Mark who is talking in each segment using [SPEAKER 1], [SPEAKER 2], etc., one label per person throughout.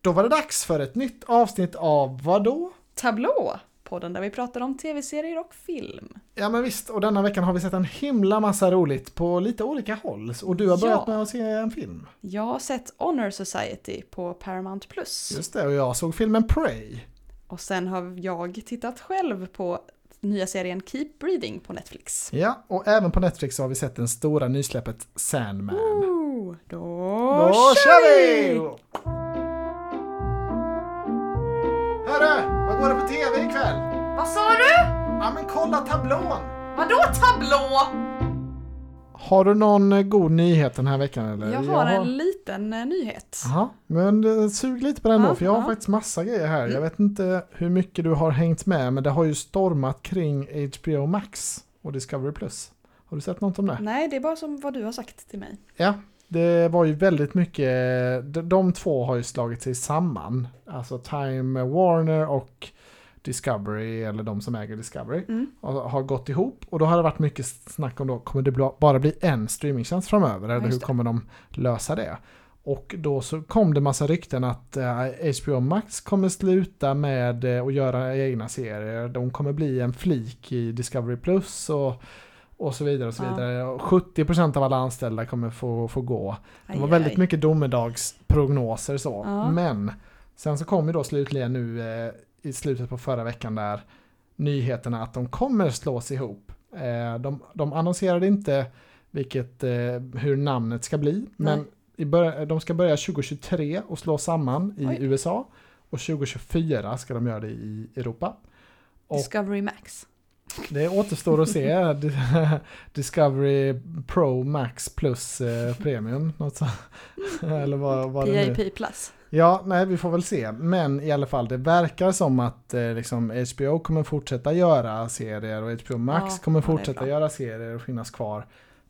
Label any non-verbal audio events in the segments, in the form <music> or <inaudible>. [SPEAKER 1] Då var det dags för ett nytt avsnitt av vadå?
[SPEAKER 2] Tablå! Podden där vi pratar om tv-serier och film.
[SPEAKER 1] Ja men visst, och denna veckan har vi sett en himla massa roligt på lite olika håll. Och du har börjat
[SPEAKER 2] Ja.
[SPEAKER 1] med att se en film.
[SPEAKER 2] Jag har sett Honor Society på Paramount+. Plus.
[SPEAKER 1] Just det, och jag såg filmen Prey.
[SPEAKER 2] Och sen har jag tittat själv på nya serien Keep Breathing på Netflix.
[SPEAKER 1] Ja, och även på Netflix så har vi sett den stora nysläppet Sandman.
[SPEAKER 2] Ooh, då,
[SPEAKER 1] Då kör vi! Hörru, vad går det på tv ikväll?
[SPEAKER 2] Vad sa du?
[SPEAKER 1] Ja men kolla tablån!
[SPEAKER 2] Vadå tablå?
[SPEAKER 1] Har du någon eh, god nyhet den här veckan eller?
[SPEAKER 2] Jag har en liten eh, nyhet.
[SPEAKER 1] Jaha, men eh, sug lite på den då,
[SPEAKER 2] Ja,
[SPEAKER 1] för jag har
[SPEAKER 2] ja. Mm.
[SPEAKER 1] faktiskt massa grejer här. Jag vet inte hur mycket du har hängt med, men det har ju stormat kring HBO Max och Discovery Plus. Har du sett något om det?
[SPEAKER 2] Nej, det är bara som vad du har sagt till mig.
[SPEAKER 1] Ja, det var ju väldigt mycket, de, de två har ju slagit sig samman. Alltså Time Warner och Discovery, eller de som äger Discovery,
[SPEAKER 2] Mm.
[SPEAKER 1] har, har gått ihop. Och då har det varit mycket snack om då, kommer det bla- bara bli en streamingtjänst framöver? Eller
[SPEAKER 2] just
[SPEAKER 1] hur
[SPEAKER 2] det.
[SPEAKER 1] kommer de lösa det? Och då så kom det massa rykten att eh, HBO Max kommer sluta med eh, att göra egna serier. De kommer bli en flik i Discovery Plus och, och så vidare. Och så
[SPEAKER 2] Ja.
[SPEAKER 1] vidare. Och 70% av alla anställda kommer få, få gå. Det
[SPEAKER 2] Aj,
[SPEAKER 1] var
[SPEAKER 2] aj,
[SPEAKER 1] väldigt
[SPEAKER 2] aj.
[SPEAKER 1] mycket domedagsprognoser så.
[SPEAKER 2] Ja.
[SPEAKER 1] Men sen så kom ju då slutligen nu eh, i slutet på förra veckan där nyheterna att de kommer slås ihop. Eh, de, de annonserade inte vilket, eh, hur namnet ska bli, men i börja, de ska börja 2023 och slå samman i
[SPEAKER 2] Oj.
[SPEAKER 1] USA och 2024 ska de göra det i Europa. och-
[SPEAKER 2] Discovery Max.
[SPEAKER 1] Det återstår att
[SPEAKER 2] <laughs>
[SPEAKER 1] se. <laughs> Discovery Pro Max plus eh, Premium. Något så. <laughs> Eller vad, vad det nu
[SPEAKER 2] PIP Plus.
[SPEAKER 1] Ja, nej vi får väl se. Men i alla fall, det verkar som att eh, liksom, HBO kommer fortsätta göra serier och HBO Max
[SPEAKER 2] Ja,
[SPEAKER 1] kommer
[SPEAKER 2] ja, det är
[SPEAKER 1] fortsätta
[SPEAKER 2] bra.
[SPEAKER 1] göra serier och finnas kvar.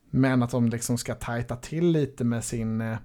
[SPEAKER 1] Men att de liksom ska tajta till lite med, sin, eh,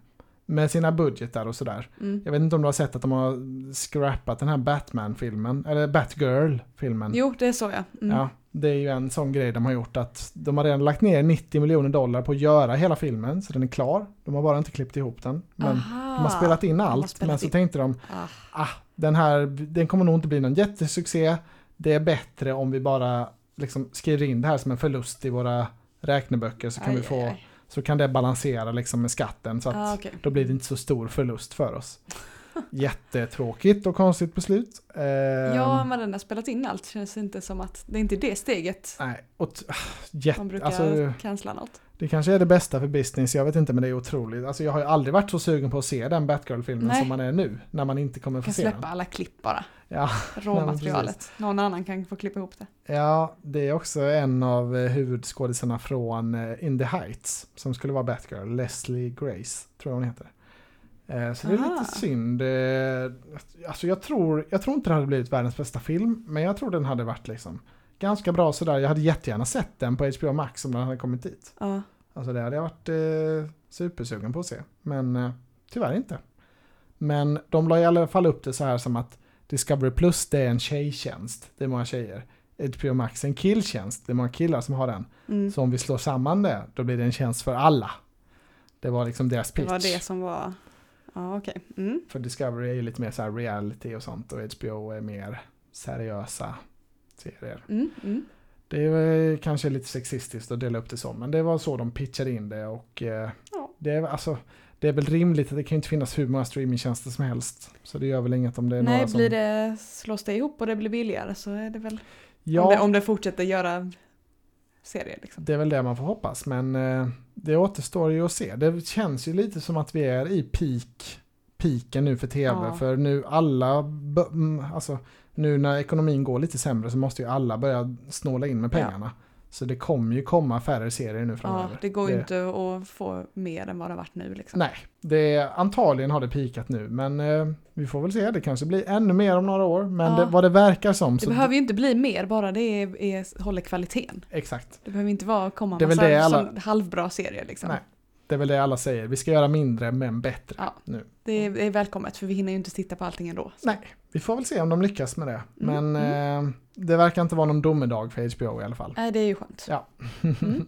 [SPEAKER 1] med sina budgetar och sådär.
[SPEAKER 2] Mm.
[SPEAKER 1] Jag vet inte om du har sett att de har scrappat den här Batman-filmen, eller Batgirl-filmen.
[SPEAKER 2] Jo, det såg jag. Mm.
[SPEAKER 1] Ja, det är ju en sån grej de har gjort att de har redan lagt ner 90 miljoner dollar på att göra hela filmen så den är klar. De har bara inte klippt ihop den. Men
[SPEAKER 2] Aha.
[SPEAKER 1] de har spelat in
[SPEAKER 2] har
[SPEAKER 1] allt
[SPEAKER 2] spelat
[SPEAKER 1] men så
[SPEAKER 2] in.
[SPEAKER 1] tänkte de
[SPEAKER 2] Ah.
[SPEAKER 1] ah, den här den kommer nog inte bli någon jättesuccé. Det är bättre om vi bara liksom skriver in det här som en förlust i våra räkneböcker så kan,
[SPEAKER 2] Aj,
[SPEAKER 1] vi få,
[SPEAKER 2] aj, aj.
[SPEAKER 1] Så kan det balansera liksom med skatten så att
[SPEAKER 2] Ah, okej.
[SPEAKER 1] då blir det inte så stor förlust för
[SPEAKER 2] <laughs>
[SPEAKER 1] oss. Jättetråkigt och konstigt beslut. Eh,
[SPEAKER 2] Ja, men den har spelat in allt. Känns inte som att det är inte det steget
[SPEAKER 1] Nej, och t- ah, jätte,
[SPEAKER 2] man brukar
[SPEAKER 1] alltså,
[SPEAKER 2] cancella något.
[SPEAKER 1] det kanske är det bästa för business, jag vet inte men det är otroligt. Alltså jag har ju aldrig varit så sugen på att se den Batgirl-filmen
[SPEAKER 2] Nej.
[SPEAKER 1] som man är nu, när man inte kommer
[SPEAKER 2] Man
[SPEAKER 1] få
[SPEAKER 2] kan
[SPEAKER 1] se
[SPEAKER 2] släppa
[SPEAKER 1] den.
[SPEAKER 2] alla klipp bara.
[SPEAKER 1] Ja, <laughs>
[SPEAKER 2] Råmaterialet. Någon annan kan få klippa ihop det.
[SPEAKER 1] ja, det är också en av eh, huvudskådisarna från eh, In the Heights, som skulle vara Batgirl, Leslie Grace, tror jag hon heter. Eh, Så det är
[SPEAKER 2] Aha.
[SPEAKER 1] lite synd. Eh, Alltså jag tror, jag tror inte det hade blivit världens bästa film, men jag tror den hade varit liksom ganska bra sådär. Jag hade jättegärna sett den på HBO Max om den hade kommit dit.
[SPEAKER 2] Ja.
[SPEAKER 1] Alltså det hade jag varit eh, supersugen på att se. Men eh, tyvärr inte. Men de la i alla fall upp det så här som att Discovery Plus det är en tjejtjänst. Det är många tjejer. HBO Max är en killtjänst. Det är många killar som har den.
[SPEAKER 2] Mm.
[SPEAKER 1] Så om vi slår samman det, då blir det en tjänst för alla. Det var liksom deras
[SPEAKER 2] Det
[SPEAKER 1] pitch.
[SPEAKER 2] var det som var... Ja, okej. Mm.
[SPEAKER 1] För Discovery är ju lite mer så här reality och sånt och HBO är mer seriösa serier.
[SPEAKER 2] Mm. Mm.
[SPEAKER 1] Det är eh, kanske lite sexistiskt att dela upp det så, men det var så de pitchade in det och eh,
[SPEAKER 2] Ja.
[SPEAKER 1] det, är, alltså, det är väl rimligt att det kan ju inte finnas hur många streamingtjänster som helst. Så det gör väl inget om det är några
[SPEAKER 2] Nej,
[SPEAKER 1] som...
[SPEAKER 2] blir det, slås det ihop och det blir billigare så är det väl... Om,
[SPEAKER 1] Ja,
[SPEAKER 2] det, om det fortsätter göra serier liksom.
[SPEAKER 1] det är väl det man får hoppas, men eh, det återstår ju att se. Det känns ju lite som att vi är i peak, peaken nu för tv,
[SPEAKER 2] Ja.
[SPEAKER 1] för nu alla, bö- mm, alltså nu när ekonomin går lite sämre så måste ju alla börja snåla in med
[SPEAKER 2] Ja.
[SPEAKER 1] pengarna. Så det kommer ju komma färre serier nu framöver.
[SPEAKER 2] Ja, det går ju
[SPEAKER 1] Det-
[SPEAKER 2] inte att få mer än vad det har varit nu liksom.
[SPEAKER 1] Nej, det är, antagligen har det pikat nu, men eh, vi får väl se. Det kanske blir ännu mer om några år, men
[SPEAKER 2] Ja.
[SPEAKER 1] det, vad det verkar som.
[SPEAKER 2] Det
[SPEAKER 1] så
[SPEAKER 2] behöver ju inte bli mer, bara det är, är, håller kvaliteten.
[SPEAKER 1] Exakt.
[SPEAKER 2] Det behöver inte vara komma
[SPEAKER 1] Det är väl
[SPEAKER 2] massa
[SPEAKER 1] det alla-
[SPEAKER 2] sån halvbra serier liksom.
[SPEAKER 1] Nej. Det är väl det alla säger, vi ska göra mindre men bättre.
[SPEAKER 2] Ja.
[SPEAKER 1] Nu.
[SPEAKER 2] Det är, det är välkommet för vi hinner ju inte titta på allting ändå.
[SPEAKER 1] Nej, vi får väl se om de lyckas med det.
[SPEAKER 2] Mm,
[SPEAKER 1] Men eh, det verkar inte vara någon domedag för HBO i alla fall.
[SPEAKER 2] Nej, det är ju skönt.
[SPEAKER 1] Ja.
[SPEAKER 2] Mm.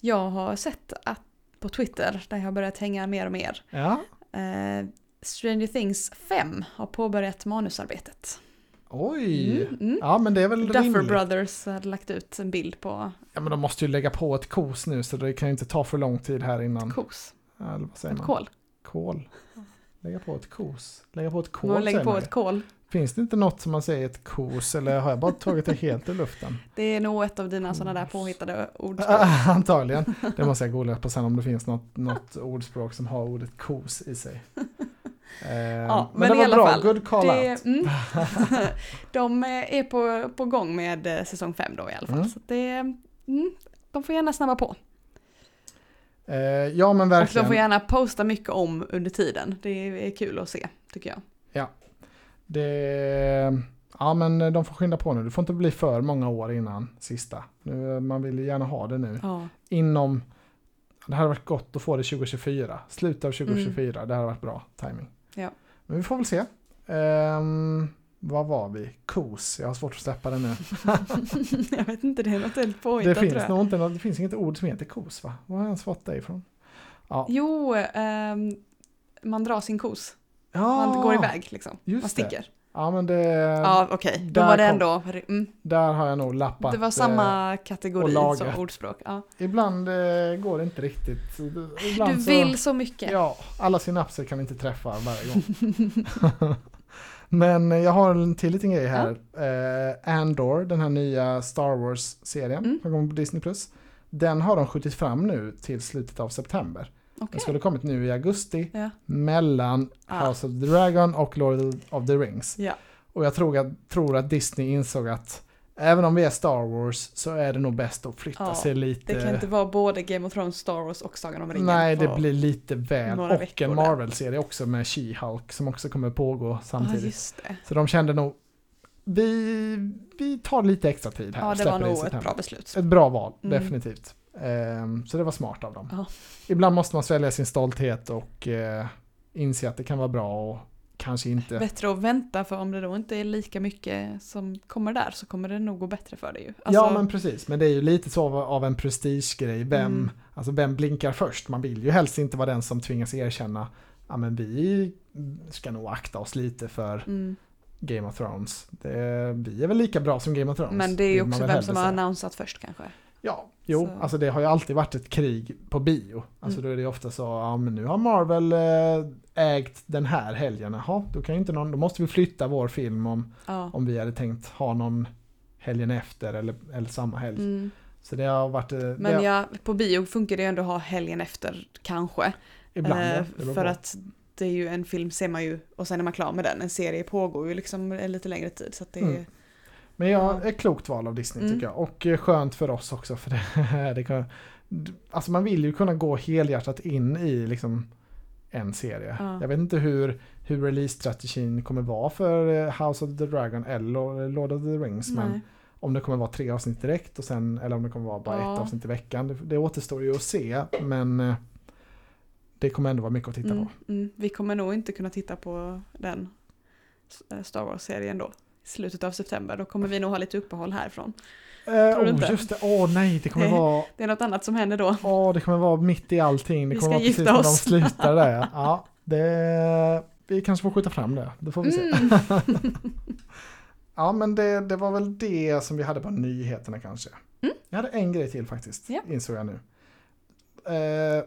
[SPEAKER 2] Jag har sett att på Twitter, där jag har börjat hänga mer och mer,
[SPEAKER 1] <laughs> Ja,
[SPEAKER 2] eh, Stranger Things 5 har påbörjat manusarbetet.
[SPEAKER 1] Oj!
[SPEAKER 2] Mm, mm.
[SPEAKER 1] Ja men det är väl
[SPEAKER 2] Duffer
[SPEAKER 1] rimligt.
[SPEAKER 2] Brothers hade lagt ut en bild på
[SPEAKER 1] Ja men de måste ju lägga på ett kos nu så det kan ju inte ta för lång tid här innan.
[SPEAKER 2] kos,
[SPEAKER 1] Ja, Eller vad Mm. säger
[SPEAKER 2] ett
[SPEAKER 1] man?
[SPEAKER 2] kol.
[SPEAKER 1] Kol. Lägga på ett kos. Lägga på ett kol
[SPEAKER 2] Man lägger
[SPEAKER 1] säger
[SPEAKER 2] på
[SPEAKER 1] man ju.
[SPEAKER 2] ett kol.
[SPEAKER 1] Finns det inte något som man säger ett kos eller har jag bara tagit det helt ur
[SPEAKER 2] <laughs>
[SPEAKER 1] luften?
[SPEAKER 2] Det är nog ett av dina sådana där
[SPEAKER 1] Kos. <laughs>
[SPEAKER 2] påhittade ord.
[SPEAKER 1] Ah, Antagligen. Det måste jag googla på sen om det finns
[SPEAKER 2] <laughs>
[SPEAKER 1] något, något ordspråk som har ordet kos i sig. Eh, men,
[SPEAKER 2] men
[SPEAKER 1] det
[SPEAKER 2] i
[SPEAKER 1] var
[SPEAKER 2] alla
[SPEAKER 1] bra,
[SPEAKER 2] fall,
[SPEAKER 1] good call out.
[SPEAKER 2] Det, mm. <laughs> de eh, är på, på gång med eh, säsong 5 då i alla fall.
[SPEAKER 1] Mm.
[SPEAKER 2] Så att det, mm, de får gärna snabba på.
[SPEAKER 1] Eh, ja men
[SPEAKER 2] Och de Alltså, får
[SPEAKER 1] verkligen.
[SPEAKER 2] gärna posta mycket om under tiden. Det är kul att se, tycker jag.
[SPEAKER 1] Det, ja men de får skynda på nu. Det får inte bli för många år innan sista. Nu, eh, man vill ju gärna ha det nu.
[SPEAKER 2] Ja,
[SPEAKER 1] Inom, det hade varit gott att få det 2024. Slutet av 2024, det hade varit bra timing.
[SPEAKER 2] Mm. Ja.
[SPEAKER 1] Men vi får väl se. Ehm, vad var vi? Kos, jag har svårt att släppa
[SPEAKER 2] <laughs>
[SPEAKER 1] det nu.
[SPEAKER 2] jag vet inte, det är något helt påhittat
[SPEAKER 1] Det
[SPEAKER 2] tror jag.
[SPEAKER 1] finns, nog inte, något- det finns inget ord som heter kos va? Var har jag ens fått det ifrån? Ja.
[SPEAKER 2] Jo, ehm, man drar sin kos.
[SPEAKER 1] ja,
[SPEAKER 2] Man går iväg liksom.
[SPEAKER 1] Ah. Just det.
[SPEAKER 2] Man sticker.
[SPEAKER 1] Ja men det,
[SPEAKER 2] Ja, okej. Då
[SPEAKER 1] där
[SPEAKER 2] var det
[SPEAKER 1] kom-
[SPEAKER 2] ändå... Mm,
[SPEAKER 1] där har jag nog lappat.
[SPEAKER 2] det var
[SPEAKER 1] eh,
[SPEAKER 2] samma
[SPEAKER 1] och
[SPEAKER 2] kategori
[SPEAKER 1] laget.
[SPEAKER 2] som ordspråk. Ja.
[SPEAKER 1] Ibland eh, går det inte riktigt. Ibland
[SPEAKER 2] Du vill så mycket.
[SPEAKER 1] Ja, alla synapser kan vi inte träffa varje gång. <laughs> Men jag har en till liten grej här. Eh, Andor, den här nya Star Wars-serien
[SPEAKER 2] Mm.
[SPEAKER 1] som kommer på Disney+. Plus. Den har de skjutit fram nu till slutet av september.
[SPEAKER 2] Okej.
[SPEAKER 1] Den skulle ha kommit nu i augusti
[SPEAKER 2] Ja.
[SPEAKER 1] mellan
[SPEAKER 2] Ah.
[SPEAKER 1] House of the Dragon och Lord of the Rings.
[SPEAKER 2] Ja.
[SPEAKER 1] Och jag tror att, tror att Disney insåg att även om vi är Star Wars så är det nog bäst att flytta
[SPEAKER 2] Ja,
[SPEAKER 1] sig lite.
[SPEAKER 2] Det kan inte vara både Game of Thrones, Star Wars och Sagan om ringen.
[SPEAKER 1] Eh. Nej, det
[SPEAKER 2] på-
[SPEAKER 1] blir lite väl.
[SPEAKER 2] några
[SPEAKER 1] Och
[SPEAKER 2] veckor
[SPEAKER 1] en
[SPEAKER 2] där.
[SPEAKER 1] Marvel-serie också med She-Hulk som också kommer pågå
[SPEAKER 2] Ja,
[SPEAKER 1] samtidigt.
[SPEAKER 2] just det.
[SPEAKER 1] så de kände nog, vi, vi tar lite extra tid här.
[SPEAKER 2] Ja,
[SPEAKER 1] och
[SPEAKER 2] det var
[SPEAKER 1] släpper i
[SPEAKER 2] nog ett
[SPEAKER 1] september.
[SPEAKER 2] bra beslut.
[SPEAKER 1] Ett bra val,
[SPEAKER 2] Mm.
[SPEAKER 1] definitivt. Ehm, så det var smart av dem.
[SPEAKER 2] Ja.
[SPEAKER 1] Ibland måste man svälja sin stolthet och eh, inse att det kan vara bra och kanske inte.
[SPEAKER 2] Bättre att vänta för om det då inte är lika mycket som kommer där så kommer det nog gå bättre för dig ju. Alltså,
[SPEAKER 1] ja, men precis. Men det är ju lite så av, av en prestigegrej. Vem,
[SPEAKER 2] Mm.
[SPEAKER 1] alltså vem blinkar först? Man vill ju helst inte vara den som tvingas erkänna Ja men vi ska nog akta oss lite för
[SPEAKER 2] Mm.
[SPEAKER 1] Game of Thrones. Det, vi är väl lika bra som Game of Thrones.
[SPEAKER 2] Men det är ju
[SPEAKER 1] vill man
[SPEAKER 2] också
[SPEAKER 1] väl
[SPEAKER 2] vem
[SPEAKER 1] hellre
[SPEAKER 2] som har
[SPEAKER 1] säga.
[SPEAKER 2] annonsat först kanske.
[SPEAKER 1] Ja, jo,
[SPEAKER 2] Så.
[SPEAKER 1] alltså det har ju alltid varit ett krig på bio. Alltså
[SPEAKER 2] Mm.
[SPEAKER 1] då är det ju ofta så, ja men nu har Marvel eh, ägt den här helgen. Jaha, då kan ju inte någon, då måste vi flytta vår film om,
[SPEAKER 2] Ja.
[SPEAKER 1] om vi hade tänkt ha någon helgen efter eller, eller samma helg.
[SPEAKER 2] Mm.
[SPEAKER 1] Så det har varit, eh, det,
[SPEAKER 2] Men ja, på bio funkar det ju ändå att ha helgen efter kanske.
[SPEAKER 1] ibland ja,
[SPEAKER 2] Eh,
[SPEAKER 1] det beror
[SPEAKER 2] för
[SPEAKER 1] på.
[SPEAKER 2] att det är ju en film ser man ju och sen är man klar med den. En serie pågår ju liksom en lite längre tid så att det är
[SPEAKER 1] Mm. Men ja,
[SPEAKER 2] Ja.
[SPEAKER 1] ett klokt val av Disney
[SPEAKER 2] Mm.
[SPEAKER 1] tycker jag. Och eh, skönt för oss också. För det, <laughs> det kan, alltså man vill ju kunna gå helhjärtat in i liksom en serie.
[SPEAKER 2] Ja.
[SPEAKER 1] Jag vet inte hur, hur release-strategin kommer vara för eh, House of the Dragon eller eh, Lord of the Rings. Men
[SPEAKER 2] Nej.
[SPEAKER 1] om det kommer vara tre avsnitt direkt och sen, eller om det kommer vara bara
[SPEAKER 2] Ja.
[SPEAKER 1] ett avsnitt i veckan. Det, det återstår ju att se. Men eh, det kommer ändå vara mycket att titta
[SPEAKER 2] mm,
[SPEAKER 1] på.
[SPEAKER 2] mm. Vi kommer nog inte kunna titta på den eh, Star Wars-serien då. I slutet av september, då kommer vi nog ha lite uppehåll härifrån.
[SPEAKER 1] Eh,
[SPEAKER 2] Tror du inte?
[SPEAKER 1] oh, just det. Åh nej, det kommer
[SPEAKER 2] Nej.
[SPEAKER 1] vara
[SPEAKER 2] Det är något annat som händer då.
[SPEAKER 1] Ja, det kommer vara mitt i allting. Det
[SPEAKER 2] Vi
[SPEAKER 1] kommer
[SPEAKER 2] ska
[SPEAKER 1] vara precis
[SPEAKER 2] gifta
[SPEAKER 1] när de
[SPEAKER 2] oss.
[SPEAKER 1] slutar
[SPEAKER 2] <laughs>
[SPEAKER 1] där. Ja, det, vi kanske får skjuta fram det. Det får vi se.
[SPEAKER 2] Mm.
[SPEAKER 1] <laughs> Ja, men det, det var väl det som vi hade på nyheterna kanske.
[SPEAKER 2] Mm.
[SPEAKER 1] Jag hade en grej till faktiskt,
[SPEAKER 2] Ja.
[SPEAKER 1] insåg jag nu. Eh,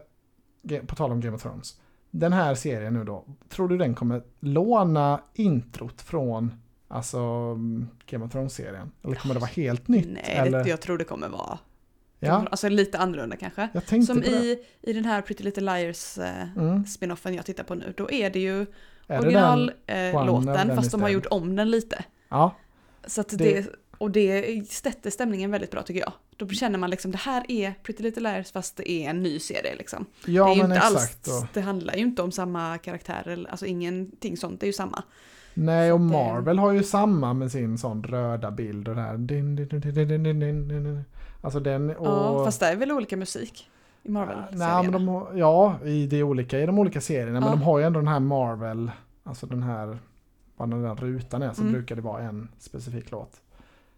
[SPEAKER 1] ge- på tal om Game of Thrones. Den här serien nu då, tror du den kommer låna introt från alltså mm, Game of Thrones-serien? Eller kommer det vara helt nytt?
[SPEAKER 2] Nej,
[SPEAKER 1] eller?
[SPEAKER 2] det, jag tror det kommer vara.
[SPEAKER 1] ja,
[SPEAKER 2] Alltså lite annorlunda kanske.
[SPEAKER 1] jag tänkte
[SPEAKER 2] Som
[SPEAKER 1] på det.
[SPEAKER 2] i, i den här Pretty Little Liars eh,
[SPEAKER 1] Mm.
[SPEAKER 2] spinoffen jag tittar på nu, då är det ju
[SPEAKER 1] Är det den? genren
[SPEAKER 2] originallåten
[SPEAKER 1] den
[SPEAKER 2] fast de har
[SPEAKER 1] istället?
[SPEAKER 2] gjort om den lite.
[SPEAKER 1] Ja,
[SPEAKER 2] Så att det,
[SPEAKER 1] Det-
[SPEAKER 2] och det sätter stämningen väldigt bra tycker jag. Då känner man liksom det här är Pretty Little Liars fast det är en ny serie liksom.
[SPEAKER 1] ja
[SPEAKER 2] det, är ju
[SPEAKER 1] men
[SPEAKER 2] inte
[SPEAKER 1] exakt.
[SPEAKER 2] alls,
[SPEAKER 1] Och-
[SPEAKER 2] det handlar ju inte om samma karaktärer, alltså ingenting sånt, det är ju samma.
[SPEAKER 1] Nej,
[SPEAKER 2] Så
[SPEAKER 1] och
[SPEAKER 2] att det-
[SPEAKER 1] Marvel har ju samma med sin sån röda bild och det här. Din, din, din, din, din, din, din, din, din. Alltså den och...
[SPEAKER 2] Ja, fast det är väl olika musik i Marvel-serierna.
[SPEAKER 1] Nej, men de, har- ja, i de olika, i de olika serierna. Men
[SPEAKER 2] Ja.
[SPEAKER 1] de har ju ändå den här Marvel, alltså den här, vad den där rutan är, så
[SPEAKER 2] Mm.
[SPEAKER 1] brukar det vara en specifik låt.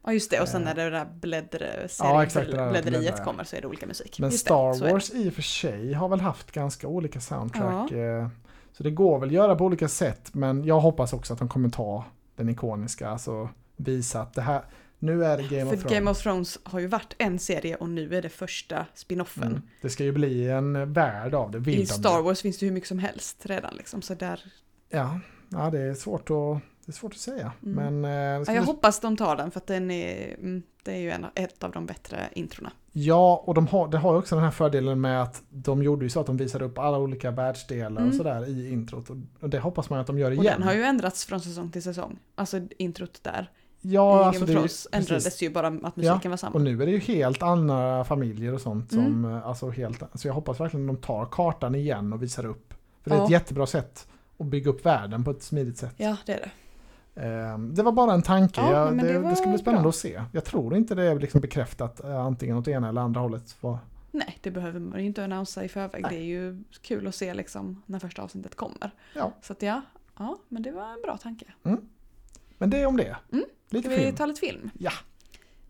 [SPEAKER 2] Ja just det, och sen
[SPEAKER 1] Eh.
[SPEAKER 2] när det där bläddre,
[SPEAKER 1] Ja, exakt, det där
[SPEAKER 2] blädderiet
[SPEAKER 1] bläddrar.
[SPEAKER 2] kommer så är det olika musik.
[SPEAKER 1] Men
[SPEAKER 2] Just det,
[SPEAKER 1] Star
[SPEAKER 2] så är det.
[SPEAKER 1] Wars i och för sig har väl haft ganska olika soundtrack. eh, Så det går väl att göra på olika sätt, men jag hoppas också att de kommer ta den ikoniska, alltså visa att det här, nu är det Game of
[SPEAKER 2] För
[SPEAKER 1] Thrones.
[SPEAKER 2] Game of Thrones har ju varit en serie och nu är det första spinoffen.
[SPEAKER 1] Mm. Det ska ju bli en värld av det. vill
[SPEAKER 2] I
[SPEAKER 1] de ju.
[SPEAKER 2] Star Wars finns det hur mycket som helst redan liksom, så där
[SPEAKER 1] Ja, ja det, är svårt att, det är svårt att säga.
[SPEAKER 2] Mm.
[SPEAKER 1] Men, eh, det ska
[SPEAKER 2] Ja, jag
[SPEAKER 1] bli-
[SPEAKER 2] hoppas de tar den för att den är, mm, det är ju en, ett av de bättre introna.
[SPEAKER 1] ja, och de har, det har ju också den här fördelen med att de gjorde ju så att de visade upp alla olika världsdelar och
[SPEAKER 2] Mm.
[SPEAKER 1] sådär i introt. Och, och det hoppas man att de gör
[SPEAKER 2] Och
[SPEAKER 1] igen.
[SPEAKER 2] den har ju ändrats från säsong till säsong. Alltså introt där. I
[SPEAKER 1] ja,
[SPEAKER 2] Game
[SPEAKER 1] alltså
[SPEAKER 2] of
[SPEAKER 1] det är ju-
[SPEAKER 2] Thrones ändrades
[SPEAKER 1] precis.
[SPEAKER 2] ju bara att musiken var samma.
[SPEAKER 1] Och nu är det ju helt andra familjer och sånt.
[SPEAKER 2] Mm.
[SPEAKER 1] Som, eh, alltså helt, så jag hoppas verkligen de tar kartan igen och visar upp. För det är ett
[SPEAKER 2] Ja.
[SPEAKER 1] jättebra sätt att bygga upp världen på ett smidigt sätt.
[SPEAKER 2] Ja, det är det.
[SPEAKER 1] Eh, Det var bara en tanke.
[SPEAKER 2] Ja,
[SPEAKER 1] jag,
[SPEAKER 2] men
[SPEAKER 1] det, det,
[SPEAKER 2] det var
[SPEAKER 1] ska bli spännande
[SPEAKER 2] bra.
[SPEAKER 1] att se. Jag tror inte det är liksom bekräftat eh, antingen åt ena eller andra hållet. vad-
[SPEAKER 2] Nej, det behöver man ju inte annonsera i förväg. Det är ju kul att se liksom när första avsnittet kommer.
[SPEAKER 1] Ja.
[SPEAKER 2] Så att ja, ja, men det var en bra tanke.
[SPEAKER 1] Men det är om det.
[SPEAKER 2] Mm.
[SPEAKER 1] Lite
[SPEAKER 2] Ska vi
[SPEAKER 1] film.
[SPEAKER 2] ta lite film?
[SPEAKER 1] Ja.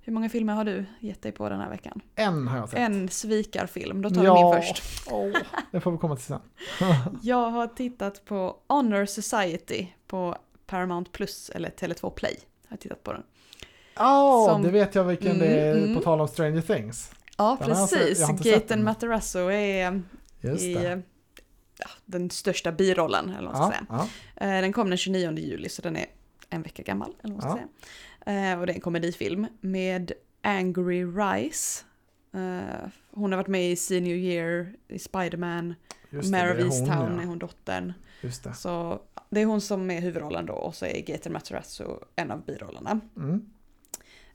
[SPEAKER 2] Hur många filmer har du gett dig på den här veckan?
[SPEAKER 1] En har jag sett.
[SPEAKER 2] En svikarfilm, då tar vi
[SPEAKER 1] Ja.
[SPEAKER 2] min först.
[SPEAKER 1] Åh, det får vi komma till sen.
[SPEAKER 2] Jag har tittat på Honor Society på Paramount Plus eller Tele2 Play. Jag har tittat på den.
[SPEAKER 1] Ja,
[SPEAKER 2] Som-
[SPEAKER 1] det vet jag vilken det är
[SPEAKER 2] Mm, mm.
[SPEAKER 1] på tal om Stranger Things.
[SPEAKER 2] Ja,
[SPEAKER 1] Den har jag inte-
[SPEAKER 2] precis.
[SPEAKER 1] jag har inte sett den.
[SPEAKER 2] Gaten Matarazzo är
[SPEAKER 1] Just
[SPEAKER 2] i
[SPEAKER 1] det.
[SPEAKER 2] eh, ja, den största birollen. Eller vad man ska
[SPEAKER 1] Ja, ja.
[SPEAKER 2] säga. Eh, Den kom den 29 juli så den är en vecka gammal. Eller vad man ska säga. Eh, Och det är en komedifilm med Angry Rice. Eh, Hon har varit med i Senior Year, i Spiderman,
[SPEAKER 1] Just det,
[SPEAKER 2] Mare
[SPEAKER 1] det
[SPEAKER 2] of
[SPEAKER 1] är
[SPEAKER 2] Easttown
[SPEAKER 1] hon,
[SPEAKER 2] är
[SPEAKER 1] ja.
[SPEAKER 2] hon dottern.
[SPEAKER 1] Just det.
[SPEAKER 2] Så det är hon som är huvudrollen då och så är Gaten Matarazzo en av birollerna.
[SPEAKER 1] Mm.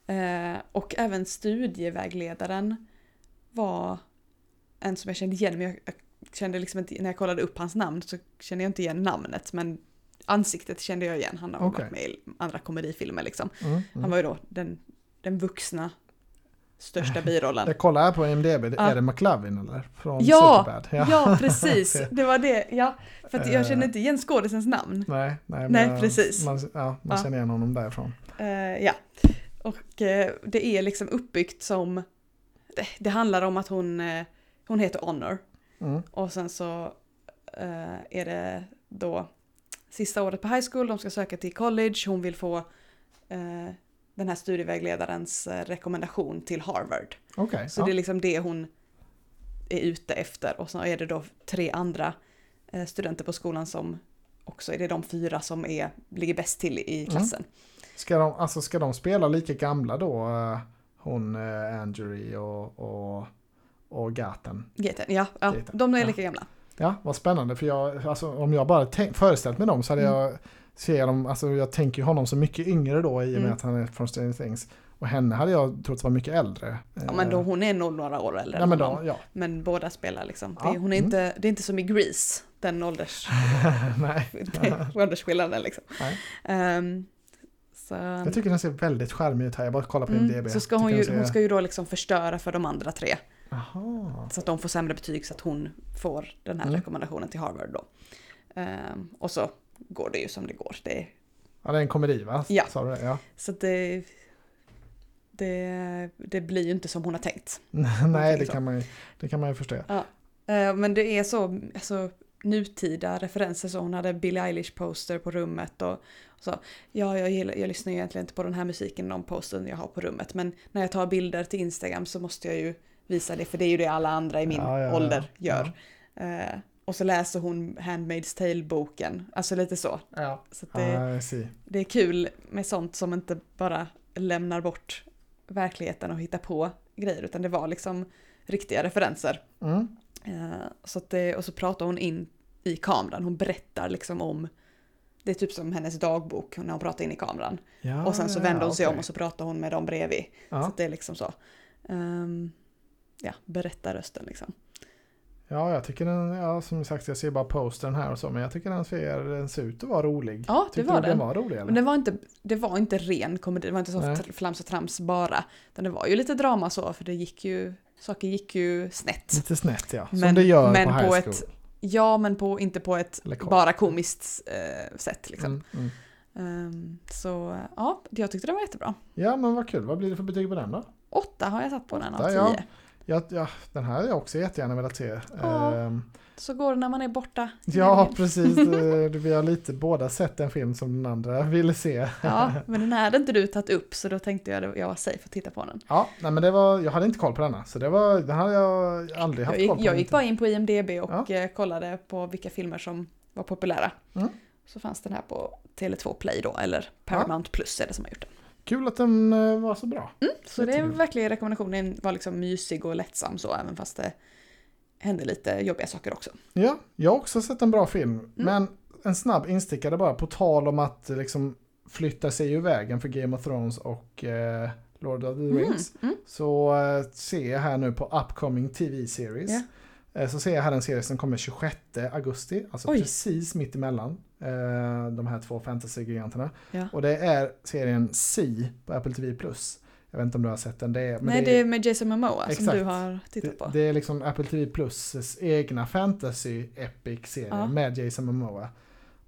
[SPEAKER 2] Eh, och även studievägledaren var en som jag kände igen, men jag, jag kände liksom inte, när jag kollade upp hans namn så kände jag inte igen namnet men ansiktet kände jag igen, han har
[SPEAKER 1] Okej.
[SPEAKER 2] varit med i andra komedifilmer liksom.
[SPEAKER 1] Mm.
[SPEAKER 2] Han
[SPEAKER 1] Mm.
[SPEAKER 2] var ju då den, den vuxna
[SPEAKER 1] <laughs>
[SPEAKER 2] största birollen.
[SPEAKER 1] Jag kollar här på IMDB, det-
[SPEAKER 2] Ja.
[SPEAKER 1] är det McLovin eller? Från
[SPEAKER 2] Ja!
[SPEAKER 1] Superbad?
[SPEAKER 2] Ja
[SPEAKER 1] <laughs>
[SPEAKER 2] precis, det var det, ja. För att jag
[SPEAKER 1] Eh.
[SPEAKER 2] kände inte igen skådisens namn.
[SPEAKER 1] Nej, nej, men
[SPEAKER 2] Nej,
[SPEAKER 1] jag-
[SPEAKER 2] precis.
[SPEAKER 1] Man, ja, man
[SPEAKER 2] Ja.
[SPEAKER 1] känner igen honom därifrån.
[SPEAKER 2] Eh, ja. Och eh, det är liksom uppbyggt som... Det, det handlar om att hon, eh, hon heter Honor.
[SPEAKER 1] Mm.
[SPEAKER 2] Och sen så eh, är det då sista året på high school, de ska söka till college, hon vill få eh, den här studievägledarens eh, rekommendation till Harvard.
[SPEAKER 1] Okej,
[SPEAKER 2] Så
[SPEAKER 1] ja.
[SPEAKER 2] det är liksom det hon är ute efter. Och så är det då tre andra eh, studenter på skolan som också är det de fyra som är, ligger bäst till i
[SPEAKER 1] Mm.
[SPEAKER 2] klassen.
[SPEAKER 1] ska, de, alltså, ska de spela lika gamla då? eh, Hon, eh, Angery och, och, och Gaten?
[SPEAKER 2] Gaten, ja, ja
[SPEAKER 1] Gaten,
[SPEAKER 2] de är
[SPEAKER 1] ja.
[SPEAKER 2] lika gamla.
[SPEAKER 1] Ja, vad spännande. För jag, alltså, om jag bara tänk, föreställt mig dem så hade
[SPEAKER 2] Mm.
[SPEAKER 1] jag, ser jag dem, alltså, jag tänker ju honom så mycket yngre då i och med
[SPEAKER 2] Mm.
[SPEAKER 1] att han är från Stranger Things. Och henne hade jag trott var mycket äldre.
[SPEAKER 2] Ja, men då, hon är nog några år äldre
[SPEAKER 1] Eh. ja,
[SPEAKER 2] än
[SPEAKER 1] men,
[SPEAKER 2] honom.
[SPEAKER 1] då, ja. <laughs>
[SPEAKER 2] Men båda spelar liksom. Det,
[SPEAKER 1] Ja,
[SPEAKER 2] är- hon är
[SPEAKER 1] mm.
[SPEAKER 2] inte, det är inte som i Grease, den ålders,
[SPEAKER 1] Nej,
[SPEAKER 2] <laughs> det- åldersskillnaden liksom.
[SPEAKER 1] Nej.
[SPEAKER 2] Ehm, så,
[SPEAKER 1] jag tycker den ser väldigt charmig ut här. Jag bara kollar på
[SPEAKER 2] mm,
[SPEAKER 1] IMDB.
[SPEAKER 2] så ska hon,
[SPEAKER 1] Tycker
[SPEAKER 2] ju,
[SPEAKER 1] den
[SPEAKER 2] hon
[SPEAKER 1] ser-
[SPEAKER 2] ska ju då liksom förstöra för de andra tre.
[SPEAKER 1] Jaha.
[SPEAKER 2] Så att de får sämre betyg så att hon får den här
[SPEAKER 1] Mm.
[SPEAKER 2] rekommendationen till Harvard då. Ehm, och så går det ju som det går. Det,
[SPEAKER 1] Ja, det är en komedi va?
[SPEAKER 2] Ja.
[SPEAKER 1] Sa du det? Ja. <laughs>
[SPEAKER 2] så att det, det, det blir ju inte som hon har tänkt.
[SPEAKER 1] Nej, det
[SPEAKER 2] så.
[SPEAKER 1] kan, man ju, det kan man ju förstå.
[SPEAKER 2] Eh, Men det är så alltså, nutida referenser, så hon hade Billie Eilish-poster på rummet och, och så. Ja, jag, gillar, jag lyssnar ju egentligen inte på den här musiken, de posten jag har på rummet, men när jag tar bilder till Instagram så måste jag ju visa det, för det är ju det alla andra i min
[SPEAKER 1] Ja, ja, ja.
[SPEAKER 2] ålder gör. Eh, och så läser hon Handmaid's Tale-boken, alltså lite så.
[SPEAKER 1] Ja.
[SPEAKER 2] Så att det,
[SPEAKER 1] Ja, I see.
[SPEAKER 2] det är kul med sånt som inte bara lämnar bort verkligheten och hittar på grejer, utan det var liksom riktiga referenser.
[SPEAKER 1] Mm.
[SPEAKER 2] Eh, Så att det, och så pratar hon in i kameran, hon berättar liksom om det är typ som hennes dagbok när hon pratar in i kameran.
[SPEAKER 1] Ja,
[SPEAKER 2] och sen så
[SPEAKER 1] ja,
[SPEAKER 2] vänder hon sig
[SPEAKER 1] Ah, okej.
[SPEAKER 2] om och så pratar hon med dem bredvid. Så
[SPEAKER 1] Ja.
[SPEAKER 2] att det är liksom så. Ehm, ja, berättarrösten liksom.
[SPEAKER 1] ja, jag tycker den, ja, som sagt jag ser bara postern här och så, men jag tycker den ser, den ser ut att vara rolig.
[SPEAKER 2] Ja, det
[SPEAKER 1] Tyckte du
[SPEAKER 2] var
[SPEAKER 1] den
[SPEAKER 2] den.
[SPEAKER 1] var rolig eller?
[SPEAKER 2] Men det var inte, det var inte ren komedi, det var inte så
[SPEAKER 1] Nej.
[SPEAKER 2] tr- flams och trams bara. Utan det var ju lite drama så, för det gick ju, saker gick ju snett.
[SPEAKER 1] Lite snett ja, som
[SPEAKER 2] Men-
[SPEAKER 1] det gör
[SPEAKER 2] men
[SPEAKER 1] på high
[SPEAKER 2] på
[SPEAKER 1] school.
[SPEAKER 2] ett Ja, men på, inte på ett
[SPEAKER 1] Eller kort.
[SPEAKER 2] bara komiskt eh, sätt liksom.
[SPEAKER 1] Mm, mm.
[SPEAKER 2] Ehm, så ja, jag tyckte det var jättebra.
[SPEAKER 1] Ja, men vad kul. Vad blir det för betyg på den då?
[SPEAKER 2] Åtta har jag satt på den
[SPEAKER 1] Åtta,
[SPEAKER 2] av tio.
[SPEAKER 1] ja. Jag, jag, den här hade jag också jättegärna velat se.
[SPEAKER 2] Ja.
[SPEAKER 1] Ehm,
[SPEAKER 2] Så går det när man är borta.
[SPEAKER 1] ja,
[SPEAKER 2] <laughs>
[SPEAKER 1] precis. Eh, Vi har lite båda sett en film som den andra ville se.
[SPEAKER 2] Ja, men den här hade inte du tagit upp så då tänkte jag att jag var safe att titta på den.
[SPEAKER 1] Ja, nej, men det var, jag hade inte koll på denna. Så det var, den hade jag aldrig haft
[SPEAKER 2] Jag gick,
[SPEAKER 1] koll på.
[SPEAKER 2] jag gick bara in på IMDB
[SPEAKER 1] Ja.
[SPEAKER 2] och eh, kollade på vilka filmer som var populära.
[SPEAKER 1] Mm.
[SPEAKER 2] Så fanns den här på Tele2 Play då, eller Paramount Plus är det som har gjort den.
[SPEAKER 1] Kul att den eh, var så bra.
[SPEAKER 2] Så det är
[SPEAKER 1] Jättekul.
[SPEAKER 2] verkligen rekommendation. Den var liksom mysig och lättsam så, även fast det hände lite jobbiga saker också.
[SPEAKER 1] Ja, jag har också sett en bra film. Men en snabb instickare bara, på tal om att eh, liksom flytta sig ur vägen för Game of Thrones och eh, Lord of the Rings.
[SPEAKER 2] Mm.
[SPEAKER 1] Så eh, ser jag här nu på Upcoming TV-series.
[SPEAKER 2] Ja.
[SPEAKER 1] Eh, så ser jag här en serie som kommer 26 augusti, alltså
[SPEAKER 2] Oj.
[SPEAKER 1] precis mitt emellan eh, de här två fantasy-giganterna.
[SPEAKER 2] Ja.
[SPEAKER 1] Och det är serien Si på Apple TV+. Jag vet inte om du har sett den, det är, men
[SPEAKER 2] Nej, det är med Jason Momoa som
[SPEAKER 1] Exakt.
[SPEAKER 2] du har tittat på.
[SPEAKER 1] det, det är liksom Apple TV Plus egna fantasy epic serie
[SPEAKER 2] Ja.
[SPEAKER 1] med Jason Momoa.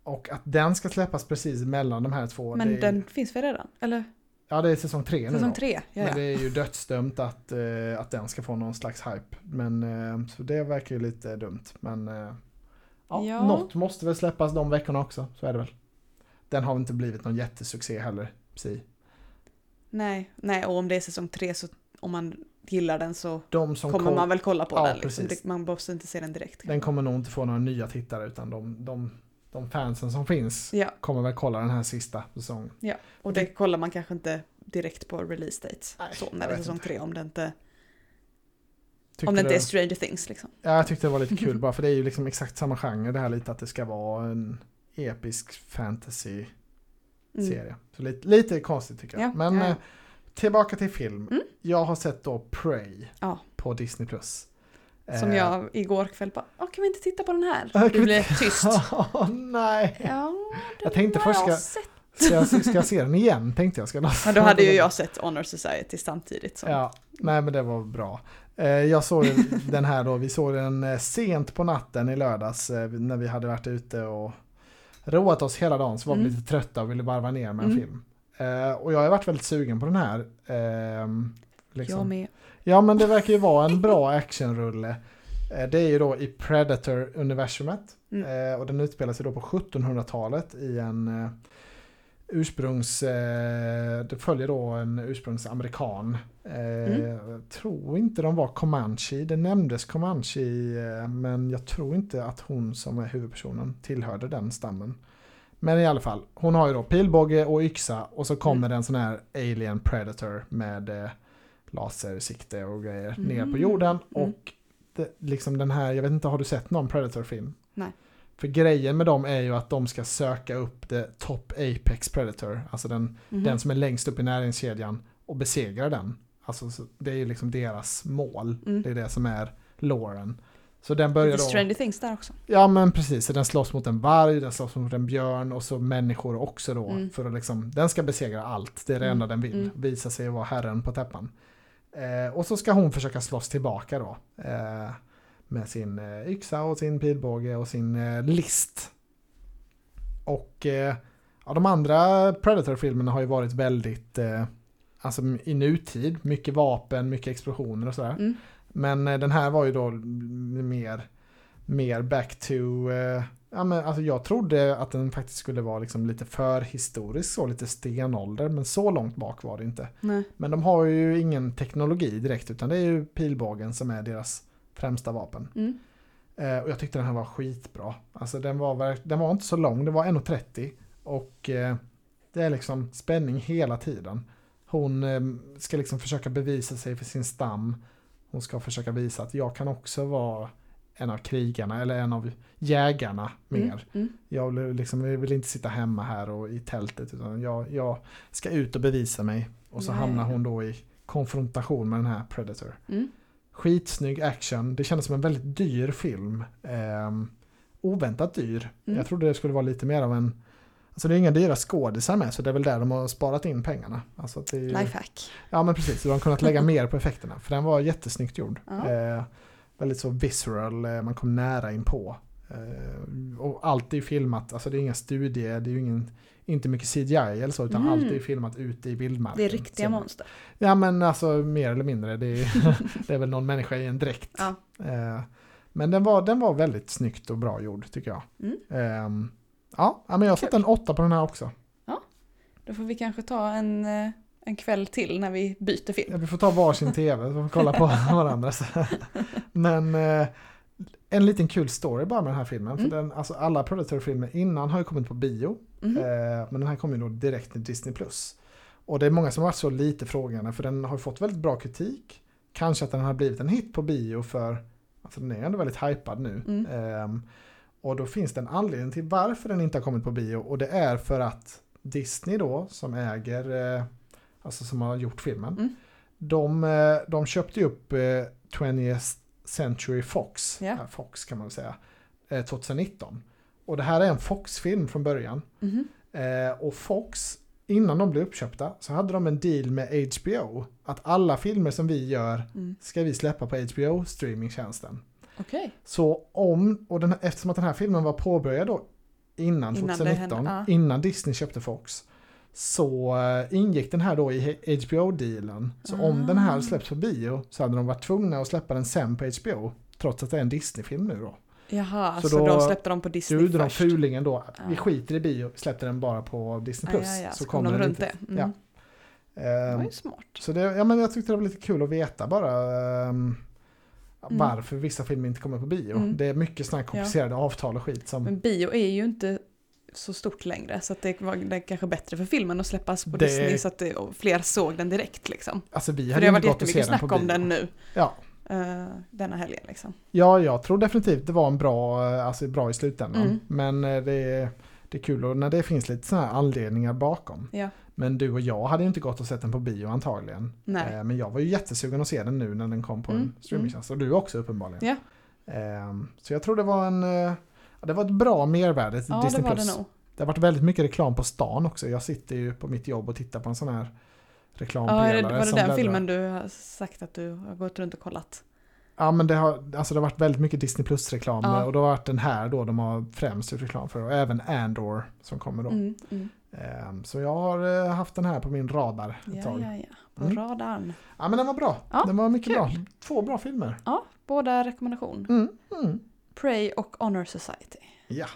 [SPEAKER 1] Och att den ska släppas precis mellan de här två.
[SPEAKER 2] men
[SPEAKER 1] det är,
[SPEAKER 2] den finns väl redan? Eller
[SPEAKER 1] Ja, det är säsong tre nu.
[SPEAKER 2] säsong
[SPEAKER 1] då.
[SPEAKER 2] tre? Ja,
[SPEAKER 1] Men
[SPEAKER 2] ja.
[SPEAKER 1] det är ju dödsdömt att, eh, att den ska få någon slags hype. Men, eh, så det verkar ju lite dumt. Men eh, ja,
[SPEAKER 2] Ja.
[SPEAKER 1] något måste väl släppas de veckorna också. Så är det väl. Den har inte blivit någon jättesuccé heller. Si.
[SPEAKER 2] Nej. Nej, och om det är säsong tre så om man gillar den så
[SPEAKER 1] De som
[SPEAKER 2] kommer
[SPEAKER 1] kom,
[SPEAKER 2] man väl kolla på
[SPEAKER 1] Ja,
[SPEAKER 2] den. Liksom.
[SPEAKER 1] precis.
[SPEAKER 2] Det- Man måste inte se den direkt.
[SPEAKER 1] Den kommer nog inte få några nya tittare utan de, de, de fansen som finns
[SPEAKER 2] Ja,
[SPEAKER 1] kommer väl kolla den här sista säsongen.
[SPEAKER 2] och det kollar man kanske inte direkt på release dates.
[SPEAKER 1] Nej,
[SPEAKER 2] så,
[SPEAKER 1] jag
[SPEAKER 2] när det är
[SPEAKER 1] vet
[SPEAKER 2] säsong
[SPEAKER 1] inte.
[SPEAKER 2] tre, om det inte,
[SPEAKER 1] Tyckte
[SPEAKER 2] om det inte
[SPEAKER 1] du-
[SPEAKER 2] är Stranger Things liksom.
[SPEAKER 1] ja, jag tyckte det var lite kul bara för det är ju liksom exakt samma genre det här lite att det ska vara en episk fantasy-serie.
[SPEAKER 2] Mm.
[SPEAKER 1] Så lite, lite konstigt tycker jag.
[SPEAKER 2] Ja,
[SPEAKER 1] Men
[SPEAKER 2] ja, ja.
[SPEAKER 1] eh, tillbaka till film.
[SPEAKER 2] Mm.
[SPEAKER 1] Jag har sett då Prey
[SPEAKER 2] Ja.
[SPEAKER 1] på Disney+. Plus.
[SPEAKER 2] Som jag igår kväll bara, "Åh, kan vi inte titta på den
[SPEAKER 1] eh. Ja,
[SPEAKER 2] här?
[SPEAKER 1] kan vi
[SPEAKER 2] Du blev
[SPEAKER 1] <laughs>
[SPEAKER 2] tyst.
[SPEAKER 1] nej!
[SPEAKER 2] Ja,
[SPEAKER 1] Jag tänkte
[SPEAKER 2] har
[SPEAKER 1] först,
[SPEAKER 2] jag
[SPEAKER 1] ska,
[SPEAKER 2] sett.
[SPEAKER 1] ska, jag, ska jag se den igen? Tänkte jag. Ska jag <laughs>
[SPEAKER 2] Men då hade ju jag sett Honor Society samtidigt. Som,
[SPEAKER 1] Ja, nej men det var bra. Eh, Jag såg
[SPEAKER 2] <laughs>
[SPEAKER 1] den- den här då, vi såg den eh, sent på natten i lördags eh, när vi hade varit ute och roat oss hela dagen så var vi
[SPEAKER 2] Mm.
[SPEAKER 1] lite trötta och ville varva ner med en
[SPEAKER 2] Mm.
[SPEAKER 1] film. Eh, Och jag har varit väldigt sugen på den här. ehm,
[SPEAKER 2] Jag
[SPEAKER 1] Liksom.
[SPEAKER 2] med.
[SPEAKER 1] Ja men det verkar ju vara en bra actionrulle. Eh, Det är ju då i Predator-universumet.
[SPEAKER 2] Mm.
[SPEAKER 1] Eh, Och den utspelar sig då på 1700-talet i en eh, ursprungs... eh, Det följer då en ursprungsamerikan. Eh,
[SPEAKER 2] Mm.
[SPEAKER 1] Jag tror inte de var Comanche. Det nämndes Comanche eh, men jag tror inte att hon som är huvudpersonen tillhörde den stammen. Men i alla fall, hon har ju då pilbåge och yxa och så kommer
[SPEAKER 2] Mm.
[SPEAKER 1] det en sån här alien predator med eh, lasersikte och grejer ner på
[SPEAKER 2] Mm.
[SPEAKER 1] jorden.
[SPEAKER 2] Mm.
[SPEAKER 1] Och det, liksom den här, jag vet inte, har du sett någon Predator-film?
[SPEAKER 2] Nej.
[SPEAKER 1] För grejen med dem är ju att de ska söka upp det top apex predator, alltså den,
[SPEAKER 2] Mhm.
[SPEAKER 1] den som är längst upp i näringskedjan och besegra den. Alltså så- det är ju liksom deras mål,
[SPEAKER 2] Mm.
[SPEAKER 1] det är det som är loren. Så den
[SPEAKER 2] Lite
[SPEAKER 1] börjar då...
[SPEAKER 2] Stranger Things där också.
[SPEAKER 1] Ja men precis, så den slåss mot en varg, den slåss mot en björn och så människor också då.
[SPEAKER 2] Mm.
[SPEAKER 1] För att liksom, den ska besegra allt, det är det
[SPEAKER 2] Mm,
[SPEAKER 1] enda den vill.
[SPEAKER 2] mm.
[SPEAKER 1] Visa sig vara herren på täppan. Eh, och så ska hon försöka slåss tillbaka då. Eh, med sin eh, yxa och sin pilbåge och sin eh, list. Och eh, ja, de andra Predator-filmerna har ju varit väldigt, eh, alltså i nutid, mycket vapen, mycket explosioner och sådär.
[SPEAKER 2] Mm.
[SPEAKER 1] Men eh, den här var ju då m- mer, mer back to... Eh, ja, men, alltså, jag trodde att den faktiskt skulle vara liksom lite förhistorisk, så lite stenålder, men så långt bak var det inte.
[SPEAKER 2] Nej.
[SPEAKER 1] Men de har ju ingen teknologi direkt, utan det är ju pilbågen som är deras främsta vapen.
[SPEAKER 2] Mm.
[SPEAKER 1] Eh, och jag tyckte den här var skitbra. Alltså den var, verk- den var inte så lång, den var 1,30. Och eh, det är liksom spänning hela tiden. Hon eh, ska liksom försöka bevisa sig för sin stam. Hon ska försöka visa att jag kan också vara en av krigarna eller en av jägarna mer.
[SPEAKER 2] Mm. Mm.
[SPEAKER 1] Jag vill, liksom, jag vill inte sitta hemma här och i tältet utan jag, jag ska ut och bevisa mig. Och så
[SPEAKER 2] Nej.
[SPEAKER 1] hamnar hon då i konfrontation med den här Predator.
[SPEAKER 2] Mm.
[SPEAKER 1] Skitsnygg action. Det kändes som en väldigt dyr film. Ehm, oväntat dyr.
[SPEAKER 2] Mm.
[SPEAKER 1] Jag trodde det skulle vara lite mer av en... Alltså det är inga dyra skådisar med så det är väl där de har sparat in pengarna. Alltså att det är ju,
[SPEAKER 2] Lifehack.
[SPEAKER 1] Ja men precis, så de har kunnat
[SPEAKER 2] <laughs>
[SPEAKER 1] lägga mer på effekterna. För den var jättesnyggt gjord. Ehm,
[SPEAKER 2] Ja.
[SPEAKER 1] Eh, väldigt så visceral, eh, man kom nära in på. Eh, Och allt är ju filmat, alltså det är inga studier, det är ju ingen, inte mycket CGI eller så, utan
[SPEAKER 2] Mm.
[SPEAKER 1] allt är ju filmat ute i vildmarken.
[SPEAKER 2] Det är riktiga
[SPEAKER 1] Så-
[SPEAKER 2] monster.
[SPEAKER 1] Ja men alltså mer eller mindre, det är, <laughs> det är väl någon människa i en dräkt.
[SPEAKER 2] Ja.
[SPEAKER 1] Eh, Men den var, den var väldigt snyggt och bra gjord tycker jag.
[SPEAKER 2] Mm.
[SPEAKER 1] Ehm, ja, ja, men jag satte
[SPEAKER 2] Kul.
[SPEAKER 1] en åtta på den här också.
[SPEAKER 2] Då får vi kanske ta en, eh, en kväll till när vi byter film.
[SPEAKER 1] Ja, Vi får ta varsin tv så får vi kolla på <laughs> varandra. Men eh, en liten kul story bara med den här filmen.
[SPEAKER 2] Mm.
[SPEAKER 1] För den, alltså alla Predator-filmer innan har ju kommit på bio.
[SPEAKER 2] Mhm.
[SPEAKER 1] Eh, men den här kom ju då direkt till Disney+. Plus. Och det är många som har varit så lite frågande för den har fått väldigt bra kritik. Kanske att den har blivit en hit på bio för alltså den är ändå väldigt hypad nu.
[SPEAKER 2] Mm.
[SPEAKER 1] Ehm, och då finns det en anledning till varför den inte har kommit på bio och det är för att Disney då som äger, eh, alltså som har gjort filmen,
[SPEAKER 2] Mm.
[SPEAKER 1] de, eh, de köpte ju upp eh, 20th Century Fox,
[SPEAKER 2] Ja.
[SPEAKER 1] eh, Fox kan man väl säga, eh, 2019. Och det här är en Fox-film från början.
[SPEAKER 2] Mhm.
[SPEAKER 1] Eh, och Fox, innan de blev uppköpta, så hade de en deal med HBO. Att alla filmer som vi gör
[SPEAKER 2] Mm.
[SPEAKER 1] ska vi släppa på HBO streamingtjänsten.
[SPEAKER 2] Okej.
[SPEAKER 1] Så om, och den, eftersom att den här filmen var påbörjad då innan,
[SPEAKER 2] Innan det
[SPEAKER 1] 2019,
[SPEAKER 2] hände, ja.
[SPEAKER 1] innan Disney köpte Fox, så eh, ingick den här då i HBO-dealen. Så
[SPEAKER 2] Ah.
[SPEAKER 1] om den här släpps på bio så hade de varit tvungna att släppa den sen på HBO. Trots att det är en Disney-film nu då.
[SPEAKER 2] Jaha, så,
[SPEAKER 1] Så
[SPEAKER 2] då,
[SPEAKER 1] då-
[SPEAKER 2] släppte de på
[SPEAKER 1] Så
[SPEAKER 2] Disney
[SPEAKER 1] gjorde de
[SPEAKER 2] först.
[SPEAKER 1] fulingen då, vi
[SPEAKER 2] Ah.
[SPEAKER 1] skiter i bio, släppte den bara på Disney+.
[SPEAKER 2] Ja, ja, ja. Så, kom de
[SPEAKER 1] den
[SPEAKER 2] runt
[SPEAKER 1] inte.
[SPEAKER 2] det. Mm.
[SPEAKER 1] Ja.
[SPEAKER 2] Det var
[SPEAKER 1] Ehm,
[SPEAKER 2] ju smart.
[SPEAKER 1] så det, ja, men jag tyckte det var lite kul att veta bara ehm,
[SPEAKER 2] Mm.
[SPEAKER 1] varför vissa filmer inte kommer på bio.
[SPEAKER 2] Mm.
[SPEAKER 1] Det är mycket sådana här komplicerade avtal och skit som
[SPEAKER 2] Men bio är ju inte så stort längre så att det var det är kanske bättre för filmen att släppas på
[SPEAKER 1] Det-
[SPEAKER 2] Disney så att det, och fler såg den direkt liksom.
[SPEAKER 1] Alltså vi
[SPEAKER 2] För
[SPEAKER 1] hade
[SPEAKER 2] det
[SPEAKER 1] ju
[SPEAKER 2] har
[SPEAKER 1] inte
[SPEAKER 2] varit
[SPEAKER 1] gått och se
[SPEAKER 2] jättemycket
[SPEAKER 1] den på
[SPEAKER 2] snack
[SPEAKER 1] bio.
[SPEAKER 2] om den nu
[SPEAKER 1] Ja.
[SPEAKER 2] eh, denna helgen liksom.
[SPEAKER 1] ja, jag tror definitivt det var en bra, eh, alltså bra i slutändan.
[SPEAKER 2] Mm.
[SPEAKER 1] Men eh, det är, det är kul och när det finns lite sådana här anledningar bakom.
[SPEAKER 2] Ja.
[SPEAKER 1] Men du och jag hade ju inte gått och sett den på bio antagligen.
[SPEAKER 2] Nej.
[SPEAKER 1] Eh, Men jag var ju jättesugen att se den nu när den kom på
[SPEAKER 2] Mm,
[SPEAKER 1] en streamingtjänst. Och du också uppenbarligen.
[SPEAKER 2] Ja.
[SPEAKER 1] Ehm, Så jag tror det var en... eh, ja, Det var ett bra mervärde till
[SPEAKER 2] Ja,
[SPEAKER 1] Disney+.
[SPEAKER 2] det var
[SPEAKER 1] Plus.
[SPEAKER 2] det nog.
[SPEAKER 1] Det har varit väldigt mycket reklam på stan också. Jag sitter ju på mitt jobb och tittar på en sån här
[SPEAKER 2] Ja, är
[SPEAKER 1] reklampelare.
[SPEAKER 2] det, var det
[SPEAKER 1] som
[SPEAKER 2] den
[SPEAKER 1] bläddrar.
[SPEAKER 2] filmen du har sagt att du har gått runt och kollat?
[SPEAKER 1] Ja, men det har, alltså det har varit väldigt mycket Disney Plus-reklam.
[SPEAKER 2] Ja.
[SPEAKER 1] Och då har varit den här då de har främst gjort reklam för. Och även Andor som kommer då.
[SPEAKER 2] Mm, mm.
[SPEAKER 1] Ehm, Så jag har eh, haft den här på min radar ett
[SPEAKER 2] Ja,
[SPEAKER 1] tag.
[SPEAKER 2] ja, ja. På
[SPEAKER 1] Mm.
[SPEAKER 2] radarn.
[SPEAKER 1] Ja men den var bra.
[SPEAKER 2] Ja,
[SPEAKER 1] den var mycket
[SPEAKER 2] kul.
[SPEAKER 1] bra. Två bra filmer.
[SPEAKER 2] Båda rekommendation.
[SPEAKER 1] Mm. Mm.
[SPEAKER 2] Pray och Honor Society.
[SPEAKER 1] Ja.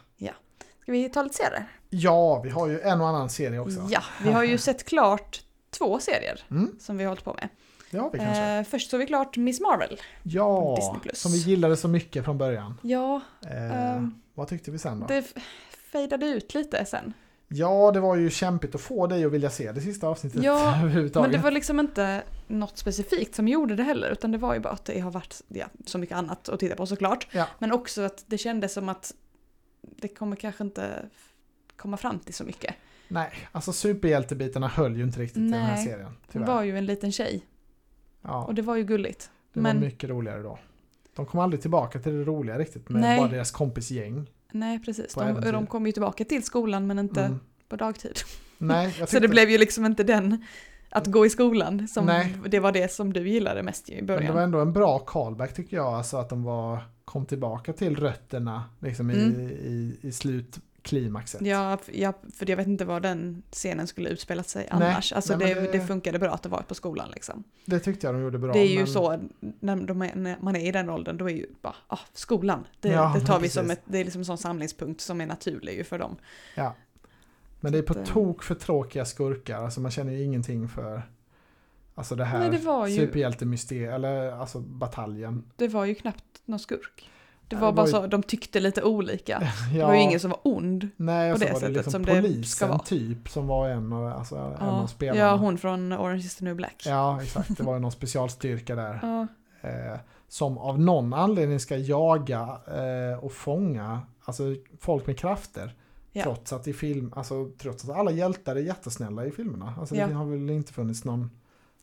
[SPEAKER 2] Ska vi ta lite serier?
[SPEAKER 1] ja, vi har ju en och annan serie också.
[SPEAKER 2] Ja, vi har
[SPEAKER 1] <laughs>
[SPEAKER 2] ju sett klart två serier
[SPEAKER 1] Mm.
[SPEAKER 2] som vi har hållit på med.
[SPEAKER 1] Det har vi kanske.
[SPEAKER 2] Eh, först såg vi klart Miss Marvel.
[SPEAKER 1] ja,
[SPEAKER 2] Disney Plus.
[SPEAKER 1] som vi gillade så mycket från början.
[SPEAKER 2] Ja,
[SPEAKER 1] Eh,
[SPEAKER 2] Ehm,
[SPEAKER 1] vad tyckte vi sen då?
[SPEAKER 2] det f- fejdade ut lite sen.
[SPEAKER 1] Ja, det var ju kämpigt att få dig att vilja se det sista avsnittet
[SPEAKER 2] Ja,
[SPEAKER 1] <laughs> överhuvudtaget.
[SPEAKER 2] Men det var liksom inte något specifikt som gjorde det heller utan det var ju bara att det har varit ja, så mycket annat att titta på såklart.
[SPEAKER 1] Ja.
[SPEAKER 2] Men också att det kändes som att det kommer kanske inte komma fram till så mycket.
[SPEAKER 1] Nej, alltså superhjältebitarna höll ju inte riktigt i den här
[SPEAKER 2] Nej.
[SPEAKER 1] serien.
[SPEAKER 2] Hon
[SPEAKER 1] Tyvärr.
[SPEAKER 2] var ju en liten tjej
[SPEAKER 1] ja,
[SPEAKER 2] och det var ju gulligt.
[SPEAKER 1] det
[SPEAKER 2] men-
[SPEAKER 1] var mycket roligare då. De kom aldrig tillbaka till det roliga riktigt med
[SPEAKER 2] Nej.
[SPEAKER 1] bara deras kompisgäng.
[SPEAKER 2] Nej precis,
[SPEAKER 1] På
[SPEAKER 2] de,
[SPEAKER 1] äventyr.
[SPEAKER 2] de kom ju tillbaka till skolan men inte
[SPEAKER 1] Mm.
[SPEAKER 2] på dagtid. <laughs>
[SPEAKER 1] Nej, jag
[SPEAKER 2] Så
[SPEAKER 1] tyckte-
[SPEAKER 2] det blev ju liksom inte den att gå i skolan som
[SPEAKER 1] Nej.
[SPEAKER 2] det var det som du gillade mest i
[SPEAKER 1] Men det
[SPEAKER 2] början.
[SPEAKER 1] var ändå en bra callback tycker jag, alltså att de var, kom tillbaka till rötterna liksom
[SPEAKER 2] Mm.
[SPEAKER 1] i, i, i slutklimaxet.
[SPEAKER 2] Ja, f- ja, för jag vet inte var den scenen skulle utspelat sig
[SPEAKER 1] Nej,
[SPEAKER 2] annars. Alltså
[SPEAKER 1] nej, men
[SPEAKER 2] det,
[SPEAKER 1] det-
[SPEAKER 2] det funkade bra att det var på skolan liksom.
[SPEAKER 1] Det tyckte jag de gjorde bra.
[SPEAKER 2] det är ju
[SPEAKER 1] men-
[SPEAKER 2] så, när, de är, när man är i den åldern, då är ju bara, ah, skolan. Det,
[SPEAKER 1] Ja,
[SPEAKER 2] det tar vi
[SPEAKER 1] precis.
[SPEAKER 2] som ett, det är liksom en sån samlingspunkt som är naturlig ju för dem.
[SPEAKER 1] Men det är på
[SPEAKER 2] att, eh,
[SPEAKER 1] tok för tråkiga skurkar, alltså man känner ju ingenting för alltså det här
[SPEAKER 2] Nej, det var ju-
[SPEAKER 1] superhjältemysteriet, eller alltså bataljen.
[SPEAKER 2] Det var ju knappt någon skurk. Det
[SPEAKER 1] Ja,
[SPEAKER 2] var
[SPEAKER 1] det
[SPEAKER 2] bara
[SPEAKER 1] var ju-
[SPEAKER 2] så, de tyckte lite olika.
[SPEAKER 1] <laughs> Ja,
[SPEAKER 2] Det var ju ingen som var ond.
[SPEAKER 1] nej, och
[SPEAKER 2] på
[SPEAKER 1] så
[SPEAKER 2] det
[SPEAKER 1] var det
[SPEAKER 2] sättet
[SPEAKER 1] liksom
[SPEAKER 2] som det
[SPEAKER 1] polisen
[SPEAKER 2] ska vara.
[SPEAKER 1] typ som var en av, alltså, en av
[SPEAKER 2] Ja,
[SPEAKER 1] spelarna.
[SPEAKER 2] ja, hon från Orange is the new black.
[SPEAKER 1] ja, exakt. Det var ju någon specialstyrka där.
[SPEAKER 2] <laughs> Ja.
[SPEAKER 1] eh, som av någon anledning ska jaga eh, och fånga alltså, folk med krafter.
[SPEAKER 2] Ja.
[SPEAKER 1] Trots, att i film, alltså, trots att alla hjältar är jättesnälla i filmerna. Alltså,
[SPEAKER 2] Ja.
[SPEAKER 1] Det har väl inte funnits någon,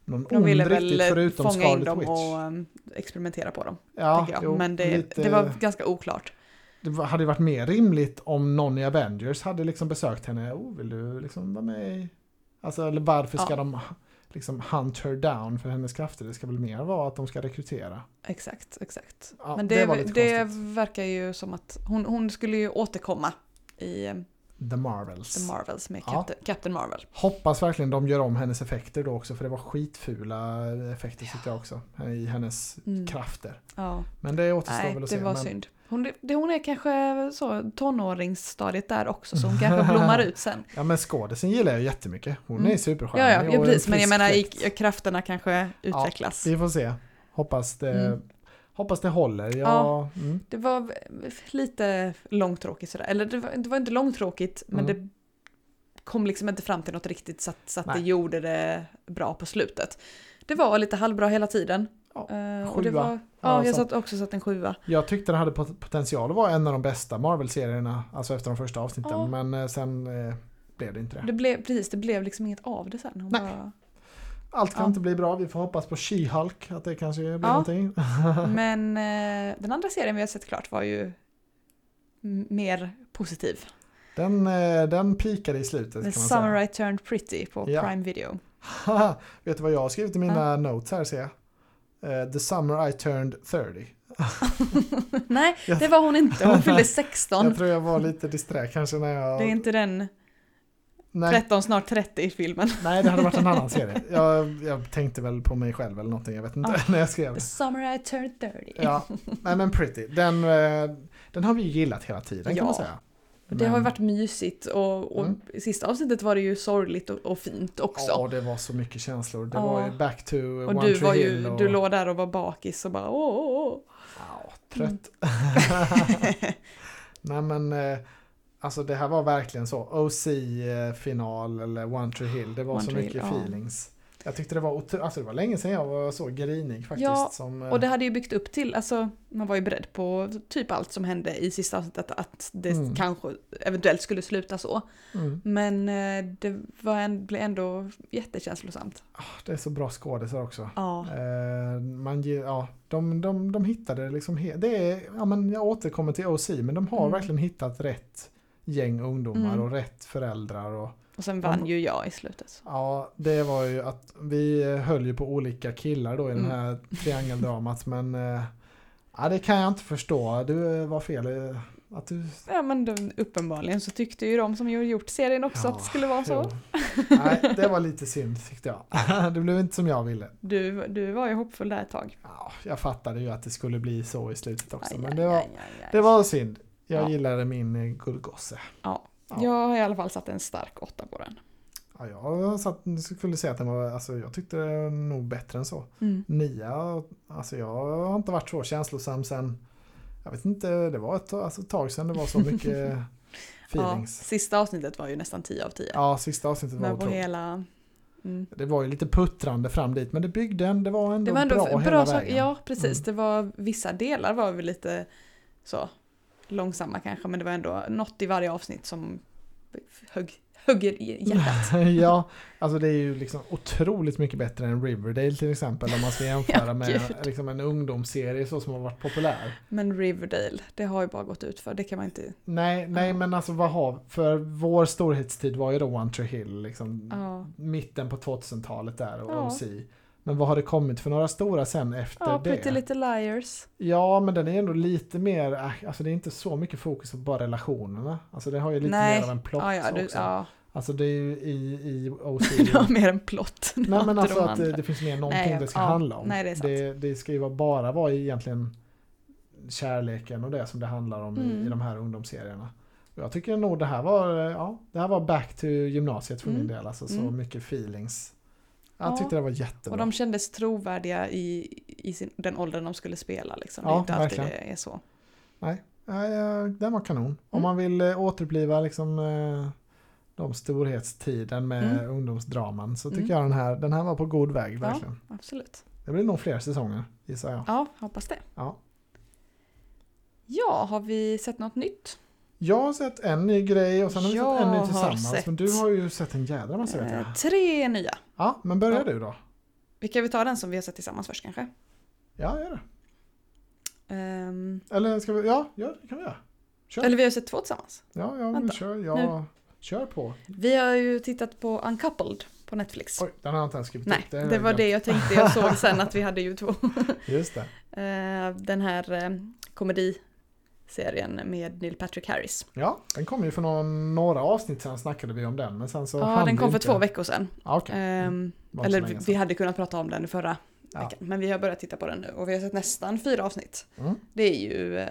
[SPEAKER 1] någon
[SPEAKER 2] De ville
[SPEAKER 1] ond
[SPEAKER 2] väl
[SPEAKER 1] riktigt förutom
[SPEAKER 2] fånga in
[SPEAKER 1] Scarlet
[SPEAKER 2] dem
[SPEAKER 1] Witch.
[SPEAKER 2] och um, experimentera på dem.
[SPEAKER 1] ja,
[SPEAKER 2] tänker jag.
[SPEAKER 1] jo,
[SPEAKER 2] Men det,
[SPEAKER 1] lite,
[SPEAKER 2] det var ganska oklart.
[SPEAKER 1] det var- hade ju varit mer rimligt om någon i Avengers hade liksom besökt henne. Oh, vill du liksom vara med i... Alltså, eller varför ska
[SPEAKER 2] Ja.
[SPEAKER 1] de... liksom hunt her down för hennes krafter. Det ska väl mer vara att de ska rekrytera.
[SPEAKER 2] Exakt, exakt.
[SPEAKER 1] Ja,
[SPEAKER 2] Men
[SPEAKER 1] det
[SPEAKER 2] det,
[SPEAKER 1] var
[SPEAKER 2] det,
[SPEAKER 1] lite
[SPEAKER 2] verkar ju som att hon, hon skulle ju återkomma i eh,
[SPEAKER 1] The Marvels.
[SPEAKER 2] The Marvels med
[SPEAKER 1] Ja.
[SPEAKER 2] Captain, Captain Marvel.
[SPEAKER 1] Hoppas verkligen de gör om hennes effekter då också för det var skitfula effekter tyckte jag också. I hennes
[SPEAKER 2] Mm.
[SPEAKER 1] krafter.
[SPEAKER 2] Ja.
[SPEAKER 1] Men det återstår
[SPEAKER 2] Nej,
[SPEAKER 1] väl att
[SPEAKER 2] det
[SPEAKER 1] se.
[SPEAKER 2] var
[SPEAKER 1] men...
[SPEAKER 2] synd. Hon, det, hon är kanske så tonåringsstadiet där också så hon
[SPEAKER 1] <laughs>
[SPEAKER 2] kanske blommar ut sen.
[SPEAKER 1] Ja men skådisen gillar jag jättemycket. Hon
[SPEAKER 2] Mm.
[SPEAKER 1] är supercharmig
[SPEAKER 2] Ja, ja, ja
[SPEAKER 1] och en
[SPEAKER 2] precis. Men jag
[SPEAKER 1] frisk
[SPEAKER 2] menar i,
[SPEAKER 1] fläkt.
[SPEAKER 2] krafterna kanske utvecklas.
[SPEAKER 1] Vi får se. Hoppas det,
[SPEAKER 2] Mm.
[SPEAKER 1] hoppas det håller. Ja,
[SPEAKER 2] Ja.
[SPEAKER 1] mm.
[SPEAKER 2] Det var v- lite långtråkigt sådär. Eller det var, det var inte långtråkigt men
[SPEAKER 1] Mm.
[SPEAKER 2] det kom liksom inte fram till något riktigt så att, så att det
[SPEAKER 1] Nej.
[SPEAKER 2] gjorde det bra på slutet. Det var lite halvbra hela tiden.
[SPEAKER 1] Ja,
[SPEAKER 2] Eh, och det
[SPEAKER 1] sjua.
[SPEAKER 2] var, ja,
[SPEAKER 1] Ja,
[SPEAKER 2] jag
[SPEAKER 1] så-
[SPEAKER 2] satt också satt en sjua.
[SPEAKER 1] Jag tyckte den hade pot- potential att vara en av de bästa Marvel-serierna, alltså efter de första avsnitten.
[SPEAKER 2] Ja.
[SPEAKER 1] Men eh, sen eh, blev det inte det.
[SPEAKER 2] Det blev, precis, det blev liksom inget av det sen. Hon
[SPEAKER 1] Nej. <laughs>
[SPEAKER 2] Bara,
[SPEAKER 1] Allt kan
[SPEAKER 2] Ja.
[SPEAKER 1] inte bli bra, vi får hoppas på She-Hulk, att det kanske blir
[SPEAKER 2] Ja.
[SPEAKER 1] någonting.
[SPEAKER 2] men eh, den andra serien vi har sett klart var ju m- mer positiv.
[SPEAKER 1] Den, eh, den pikade i slutet kan
[SPEAKER 2] The
[SPEAKER 1] man
[SPEAKER 2] Summer
[SPEAKER 1] säga.
[SPEAKER 2] I Turned Pretty på
[SPEAKER 1] Ja.
[SPEAKER 2] Prime Video. <laughs>
[SPEAKER 1] Haha, Vet du vad jag har skrivit i mina notes här ser jag? Eh, The Summer I Turned 30.
[SPEAKER 2] Nej,
[SPEAKER 1] Jag-
[SPEAKER 2] det var hon inte. Hon fyllde
[SPEAKER 1] <laughs>
[SPEAKER 2] 16.
[SPEAKER 1] Jag tror jag var lite disträ kanske när jag...
[SPEAKER 2] Det är inte den
[SPEAKER 1] nej,
[SPEAKER 2] 13 snart 30 i filmen.
[SPEAKER 1] nej, det hade varit en annan serie. Jag, jag tänkte väl på mig själv eller någonting, jag vet inte, <laughs> när jag skrev.
[SPEAKER 2] The summer I turned 30.
[SPEAKER 1] Ja, nej men pretty. Den, eh, den har vi ju gillat hela tiden kan
[SPEAKER 2] Ja.
[SPEAKER 1] man säga.
[SPEAKER 2] Det har
[SPEAKER 1] Men-
[SPEAKER 2] ju varit mysigt och, och
[SPEAKER 1] Mm.
[SPEAKER 2] i sista avsnittet var det ju sorgligt och, och fint också.
[SPEAKER 1] Ja, det var så mycket känslor. Det
[SPEAKER 2] Ja.
[SPEAKER 1] var ju back to
[SPEAKER 2] och
[SPEAKER 1] One
[SPEAKER 2] du
[SPEAKER 1] Tree
[SPEAKER 2] var
[SPEAKER 1] Hill
[SPEAKER 2] ju,
[SPEAKER 1] och...
[SPEAKER 2] du låg där och var bakis och bara åh, åh, åh.
[SPEAKER 1] Ja, trött.
[SPEAKER 2] Mm.
[SPEAKER 1] <laughs>
[SPEAKER 2] <laughs>
[SPEAKER 1] nej men, eh, alltså det här var verkligen så. OC-final eller One Tree Hill. Det var
[SPEAKER 2] One
[SPEAKER 1] så
[SPEAKER 2] Tree
[SPEAKER 1] mycket
[SPEAKER 2] Hill, ja.
[SPEAKER 1] feelings. Jag tyckte det var otro... alltså det var länge sedan jag var så grinig faktiskt.
[SPEAKER 2] Ja,
[SPEAKER 1] som, eh,
[SPEAKER 2] Och det hade ju byggt upp till, alltså man var ju beredd på typ allt som hände i sista avsnittet att det
[SPEAKER 1] Mm.
[SPEAKER 2] kanske eventuellt skulle sluta så.
[SPEAKER 1] mm.
[SPEAKER 2] Men eh, det var en, blev ändå jättekänslosamt.
[SPEAKER 1] Ah, det är så bra skådisar också.
[SPEAKER 2] Ja.
[SPEAKER 1] Eh, man ge, ja, de, de, de hittade liksom, he- det är, ja, men jag återkommer till OC, men de har
[SPEAKER 2] Mm.
[SPEAKER 1] verkligen hittat rätt gäng ungdomar
[SPEAKER 2] Mm.
[SPEAKER 1] och rätt föräldrar. Och,
[SPEAKER 2] Och sen
[SPEAKER 1] Ja.
[SPEAKER 2] vann ju jag i slutet.
[SPEAKER 1] ja, det var ju att vi eh, höll ju på olika killar då i
[SPEAKER 2] Mm.
[SPEAKER 1] den här triangeldramat, men eh, ja, det kan jag inte förstå. Du eh, var fel. eh, Att du,
[SPEAKER 2] Ja men de, uppenbarligen så tyckte ju de som ju gjort serien också
[SPEAKER 1] Ja,
[SPEAKER 2] att det skulle vara så.
[SPEAKER 1] Jo. Nej, det var lite synd tyckte jag. <laughs> Det blev inte som jag ville.
[SPEAKER 2] Du, du var ju hoppfull där ett tag.
[SPEAKER 1] Ja, jag fattade ju att det skulle bli så i slutet också,
[SPEAKER 2] Aj,
[SPEAKER 1] men
[SPEAKER 2] aj,
[SPEAKER 1] det var,
[SPEAKER 2] aj, aj, aj.
[SPEAKER 1] Det var synd. Jag
[SPEAKER 2] Ja.
[SPEAKER 1] gillade min eh, guldgosse.
[SPEAKER 2] Ja.
[SPEAKER 1] Ja.
[SPEAKER 2] Jag har i alla fall satt en stark åtta på den.
[SPEAKER 1] Ja, jag satt, skulle säga att den var, alltså jag tyckte det var nog bättre än så. Nia, alltså jag har inte varit så känslosam sen, jag vet inte, det var ett, tag- alltså ett tag sedan det var så
[SPEAKER 2] <laughs>
[SPEAKER 1] mycket
[SPEAKER 2] Ja,
[SPEAKER 1] feelings.
[SPEAKER 2] sista avsnittet var ju nästan 10 av 10.
[SPEAKER 1] Ja, sista avsnittet var
[SPEAKER 2] Men på
[SPEAKER 1] otroligt.
[SPEAKER 2] hela... Mm.
[SPEAKER 1] Det var ju lite puttrande fram dit, men det byggde en, det var ändå,
[SPEAKER 2] Det var ändå
[SPEAKER 1] bra,
[SPEAKER 2] bra,
[SPEAKER 1] hela
[SPEAKER 2] saker.
[SPEAKER 1] vägen. <laughs>
[SPEAKER 2] Ja, precis.
[SPEAKER 1] Mm.
[SPEAKER 2] Det var vissa delar var väl lite så långsamma kanske, men det var ändå något i varje avsnitt som högg, högger i <laughs> hjärtat.
[SPEAKER 1] ja, alltså det är ju liksom otroligt mycket bättre än Riverdale till exempel om man
[SPEAKER 2] <laughs>
[SPEAKER 1] ska jämföra med
[SPEAKER 2] gud.
[SPEAKER 1] liksom en ungdomsserie så som har varit populär.
[SPEAKER 2] Men Riverdale, det har ju bara gått ut för. Det kan man inte...
[SPEAKER 1] Nej, nej
[SPEAKER 2] Ja.
[SPEAKER 1] men alltså vad har, för vår storhetstid var ju då One Tree Hill, liksom
[SPEAKER 2] Ja.
[SPEAKER 1] mitten på 2000-talet där och
[SPEAKER 2] Ja.
[SPEAKER 1] OC. Men vad har det kommit för några stora sen efter
[SPEAKER 2] Ja,
[SPEAKER 1] det?
[SPEAKER 2] Pretty Little Liars.
[SPEAKER 1] Ja, men den är ändå lite mer, äh, alltså det är inte så mycket fokus på bara relationerna. Alltså det har ju lite
[SPEAKER 2] Nej.
[SPEAKER 1] mer av en plott
[SPEAKER 2] Ja, ja, du,
[SPEAKER 1] också.
[SPEAKER 2] ja.
[SPEAKER 1] Alltså det är ju i, i OC.
[SPEAKER 2] <laughs> Det var mer en plott.
[SPEAKER 1] Mm. Nej men
[SPEAKER 2] Inte
[SPEAKER 1] alltså
[SPEAKER 2] de
[SPEAKER 1] att det,
[SPEAKER 2] andra.
[SPEAKER 1] det finns mer någonting
[SPEAKER 2] Nej,
[SPEAKER 1] det ska
[SPEAKER 2] ja.
[SPEAKER 1] handla om.
[SPEAKER 2] Nej, det är sant.
[SPEAKER 1] det, det ska ju vara- bara vara egentligen kärleken och det som det handlar om i,
[SPEAKER 2] Mm.
[SPEAKER 1] i de här ungdomsserierna. Och jag tycker nog det här var, ja, det här var back to gymnasiet för
[SPEAKER 2] Mm.
[SPEAKER 1] min del. Alltså så
[SPEAKER 2] Mm.
[SPEAKER 1] mycket feelings. Jag
[SPEAKER 2] Ja.
[SPEAKER 1] tyckte det var jättebra.
[SPEAKER 2] Och de kändes trovärdiga i, i sin, den åldern de skulle spela. Liksom. det
[SPEAKER 1] Ja,
[SPEAKER 2] är inte alltid
[SPEAKER 1] verkligen.
[SPEAKER 2] det är så.
[SPEAKER 1] Ja, ja, den var kanon. Om
[SPEAKER 2] Mm.
[SPEAKER 1] man vill eh, återuppliva liksom eh, de storhetstiden med
[SPEAKER 2] Mm.
[SPEAKER 1] ungdomsdraman så tycker
[SPEAKER 2] Mm.
[SPEAKER 1] jag den här, den här var på god väg
[SPEAKER 2] Ja.
[SPEAKER 1] verkligen.
[SPEAKER 2] Absolut.
[SPEAKER 1] Det blir nog fler säsonger gissar jag.
[SPEAKER 2] Ja, hoppas det.
[SPEAKER 1] Ja.
[SPEAKER 2] Ja, har vi sett något nytt?
[SPEAKER 1] Jag har sett en ny grej och sen har vi
[SPEAKER 2] Jag
[SPEAKER 1] sett en ny
[SPEAKER 2] har
[SPEAKER 1] tillsammans.
[SPEAKER 2] sett-
[SPEAKER 1] Men du har ju sett en jädra massa vet jag.
[SPEAKER 2] Eh, tre nya.
[SPEAKER 1] Ja, men börjar
[SPEAKER 2] ja.
[SPEAKER 1] du då?
[SPEAKER 2] Vi kan väl ta den som vi har sett tillsammans först kanske.
[SPEAKER 1] Ja, gör det.
[SPEAKER 2] Ehm,
[SPEAKER 1] Eller ska vi? Ja, gör det kan vi göra. Kör.
[SPEAKER 2] eller vi har ju sett två tillsammans.
[SPEAKER 1] ja, ja, men
[SPEAKER 2] vänta.
[SPEAKER 1] kör. Ja, kör på.
[SPEAKER 2] Vi har ju tittat på Uncoupled på Netflix.
[SPEAKER 1] Oj, den har jag inte ens skrivit
[SPEAKER 2] Nej,
[SPEAKER 1] upp. har
[SPEAKER 2] det
[SPEAKER 1] jag
[SPEAKER 2] var det
[SPEAKER 1] glömt.
[SPEAKER 2] jag tänkte.
[SPEAKER 1] <laughs>
[SPEAKER 2] Jag såg sen att vi hade ju två.
[SPEAKER 1] Just det.
[SPEAKER 2] Eh, Den här eh, komediserien med Neil Patrick Harris.
[SPEAKER 1] Ja, den kom ju för någon, några avsnitt sen snackade vi om den. Men sen så
[SPEAKER 2] Ja,
[SPEAKER 1] hann
[SPEAKER 2] den
[SPEAKER 1] vi
[SPEAKER 2] kom för
[SPEAKER 1] inte.
[SPEAKER 2] två veckor sedan.
[SPEAKER 1] Ja, okej. Mm,
[SPEAKER 2] Ehm,
[SPEAKER 1] var inte så
[SPEAKER 2] Eller
[SPEAKER 1] länge
[SPEAKER 2] vi,
[SPEAKER 1] sedan.
[SPEAKER 2] vi hade kunnat prata om den förra
[SPEAKER 1] Ja.
[SPEAKER 2] veckan. Men vi har börjat titta på den nu och vi har sett nästan fyra avsnitt.
[SPEAKER 1] Mm.
[SPEAKER 2] Det är ju eh,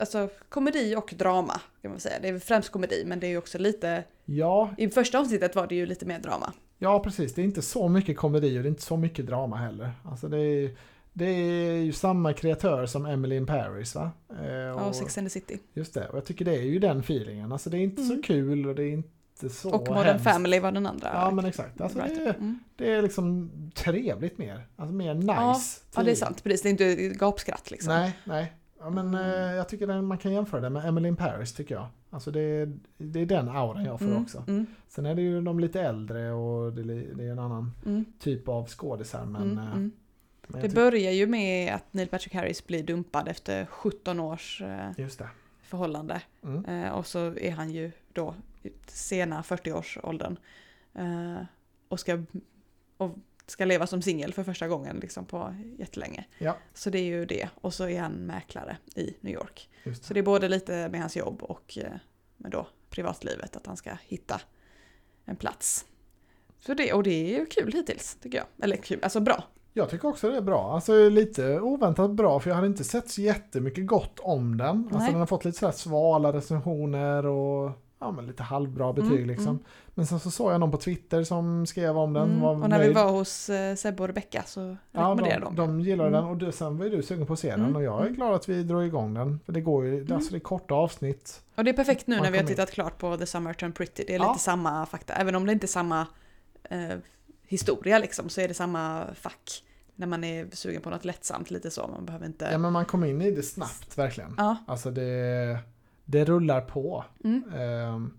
[SPEAKER 2] alltså komedi och drama kan man säga. Det är främst komedi men det är ju också lite,
[SPEAKER 1] Ja,
[SPEAKER 2] i första avsnittet var det ju lite mer drama.
[SPEAKER 1] ja, precis. Det är inte så mycket komedi och det är inte så mycket drama heller. Alltså det är, det är ju samma kreatör som Emily in Paris va? Eh,
[SPEAKER 2] Ja, och Sex and the City.
[SPEAKER 1] Just det, och jag tycker det är ju den feelingen. Alltså det är inte så
[SPEAKER 2] Mm.
[SPEAKER 1] kul och det är inte så
[SPEAKER 2] och Modern
[SPEAKER 1] hemskt.
[SPEAKER 2] Family var den andra.
[SPEAKER 1] Ja men exakt. Alltså det,
[SPEAKER 2] writer.
[SPEAKER 1] är,
[SPEAKER 2] Mm.
[SPEAKER 1] det är liksom trevligt mer. Alltså mer nice.
[SPEAKER 2] Ja det är
[SPEAKER 1] trevligt.
[SPEAKER 2] sant, precis. Det är inte gapskratt liksom.
[SPEAKER 1] typ- Nej, nej. Ja, men
[SPEAKER 2] Mm.
[SPEAKER 1] eh, jag tycker den, man kan jämföra det med Emily in Paris tycker jag. Alltså det, är- det är den auran jag får
[SPEAKER 2] Mm,
[SPEAKER 1] också.
[SPEAKER 2] Mm,
[SPEAKER 1] Sen är det ju de lite äldre och det, är li- det är en annan
[SPEAKER 2] mm,
[SPEAKER 1] typ av skådisar. Men,
[SPEAKER 2] mm,
[SPEAKER 1] eh,
[SPEAKER 2] mm.
[SPEAKER 1] men
[SPEAKER 2] Det
[SPEAKER 1] jag tycker,
[SPEAKER 2] börjar ju med att Neil Patrick Harris blir dumpad efter 17 års eh,
[SPEAKER 1] just det.
[SPEAKER 2] förhållande.
[SPEAKER 1] Mm.
[SPEAKER 2] Eh, och så är han ju då i sena 40-årsåldern. Eh, och, ska, och ska leva som singel för första gången liksom på jättelänge.
[SPEAKER 1] Ja.
[SPEAKER 2] Så det är ju det. Och så är han mäklare i New York.
[SPEAKER 1] Just
[SPEAKER 2] Så
[SPEAKER 1] det.
[SPEAKER 2] det är både lite med hans jobb och eh, med då privatlivet. Att han ska hitta en plats. Så det, och det är ju kul hittills tycker jag. Eller kul, alltså bra.
[SPEAKER 1] Jag tycker också det är bra. Alltså lite oväntat bra för jag hade inte sett så jättemycket gott om den. Alltså
[SPEAKER 2] Nej.
[SPEAKER 1] den har fått lite sådär svala recensioner och ja, men lite halvbra betyg
[SPEAKER 2] Mm,
[SPEAKER 1] liksom.
[SPEAKER 2] mm.
[SPEAKER 1] Men sen så såg jag någon på Twitter som skrev om den.
[SPEAKER 2] Mm.
[SPEAKER 1] Var
[SPEAKER 2] Och när vi
[SPEAKER 1] nöjd.
[SPEAKER 2] var hos eh, Sebbe och Rebecka så
[SPEAKER 1] Ja,
[SPEAKER 2] rekommenderade
[SPEAKER 1] de, de gillade
[SPEAKER 2] Mm.
[SPEAKER 1] den och du, sen var ju du sugen på att se den
[SPEAKER 2] Mm,
[SPEAKER 1] och jag är
[SPEAKER 2] mm.
[SPEAKER 1] glad att vi drog igång den. För det går ju,
[SPEAKER 2] Mm.
[SPEAKER 1] alltså det är korta avsnitt.
[SPEAKER 2] Och det är perfekt nu
[SPEAKER 1] Man
[SPEAKER 2] när vi har
[SPEAKER 1] kommer in.
[SPEAKER 2] tittat klart på The Summer Turned Pretty. Det är
[SPEAKER 1] Ja.
[SPEAKER 2] lite samma fakta. Även om det inte är samma eh, historia liksom så är det samma fack. När man är sugen på något lättsamt lite så. Man behöver inte...
[SPEAKER 1] Ja men man kom in i det snabbt verkligen.
[SPEAKER 2] Ja.
[SPEAKER 1] Alltså det, det rullar på.
[SPEAKER 2] Mm.
[SPEAKER 1] Ehm,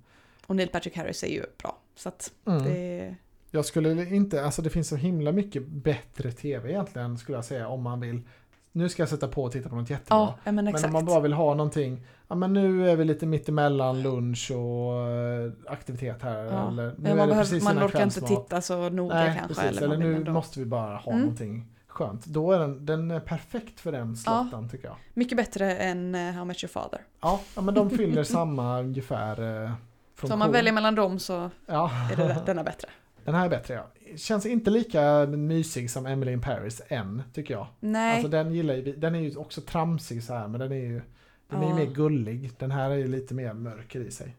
[SPEAKER 2] Och Neil Patrick Harris är ju bra. Så att
[SPEAKER 1] mm.
[SPEAKER 2] det...
[SPEAKER 1] Jag skulle inte, alltså det finns så himla mycket bättre tv egentligen skulle jag säga om man vill. Nu ska jag sätta på och titta på något jättebra.
[SPEAKER 2] Ja, ja men
[SPEAKER 1] men
[SPEAKER 2] exakt.
[SPEAKER 1] om man bara vill ha någonting, ja men nu är vi lite mittemellan lunch och eh, aktivitet här.
[SPEAKER 2] Ja.
[SPEAKER 1] Eller, nu är
[SPEAKER 2] Ja, man,
[SPEAKER 1] det
[SPEAKER 2] behöver,
[SPEAKER 1] precis
[SPEAKER 2] man
[SPEAKER 1] innan
[SPEAKER 2] orkar inte
[SPEAKER 1] kvällsmat.
[SPEAKER 2] titta så noga kanske.
[SPEAKER 1] precis. Eller,
[SPEAKER 2] man vill
[SPEAKER 1] nu
[SPEAKER 2] ändå-
[SPEAKER 1] måste vi bara ha
[SPEAKER 2] Mm.
[SPEAKER 1] någonting skönt. Då är den, den är perfekt för den slotten tycker jag.
[SPEAKER 2] Mycket bättre än eh, How Much Your Father.
[SPEAKER 1] Ja, ja, men de
[SPEAKER 2] <laughs>
[SPEAKER 1] fyller samma ungefär eh, funktion.
[SPEAKER 2] Så om man väljer mellan dem så
[SPEAKER 1] ja.
[SPEAKER 2] är det
[SPEAKER 1] <laughs>
[SPEAKER 2] rätt, denna bättre.
[SPEAKER 1] Den här är bättre ja. Känns inte lika mysig som Emily in Paris än, tycker jag.
[SPEAKER 2] Nej.
[SPEAKER 1] Alltså den gillar ju, vi- den är ju också tramsig så här men den är ju den är ju
[SPEAKER 2] Ja.
[SPEAKER 1] mer gullig. Den här är ju lite mer mörker i sig.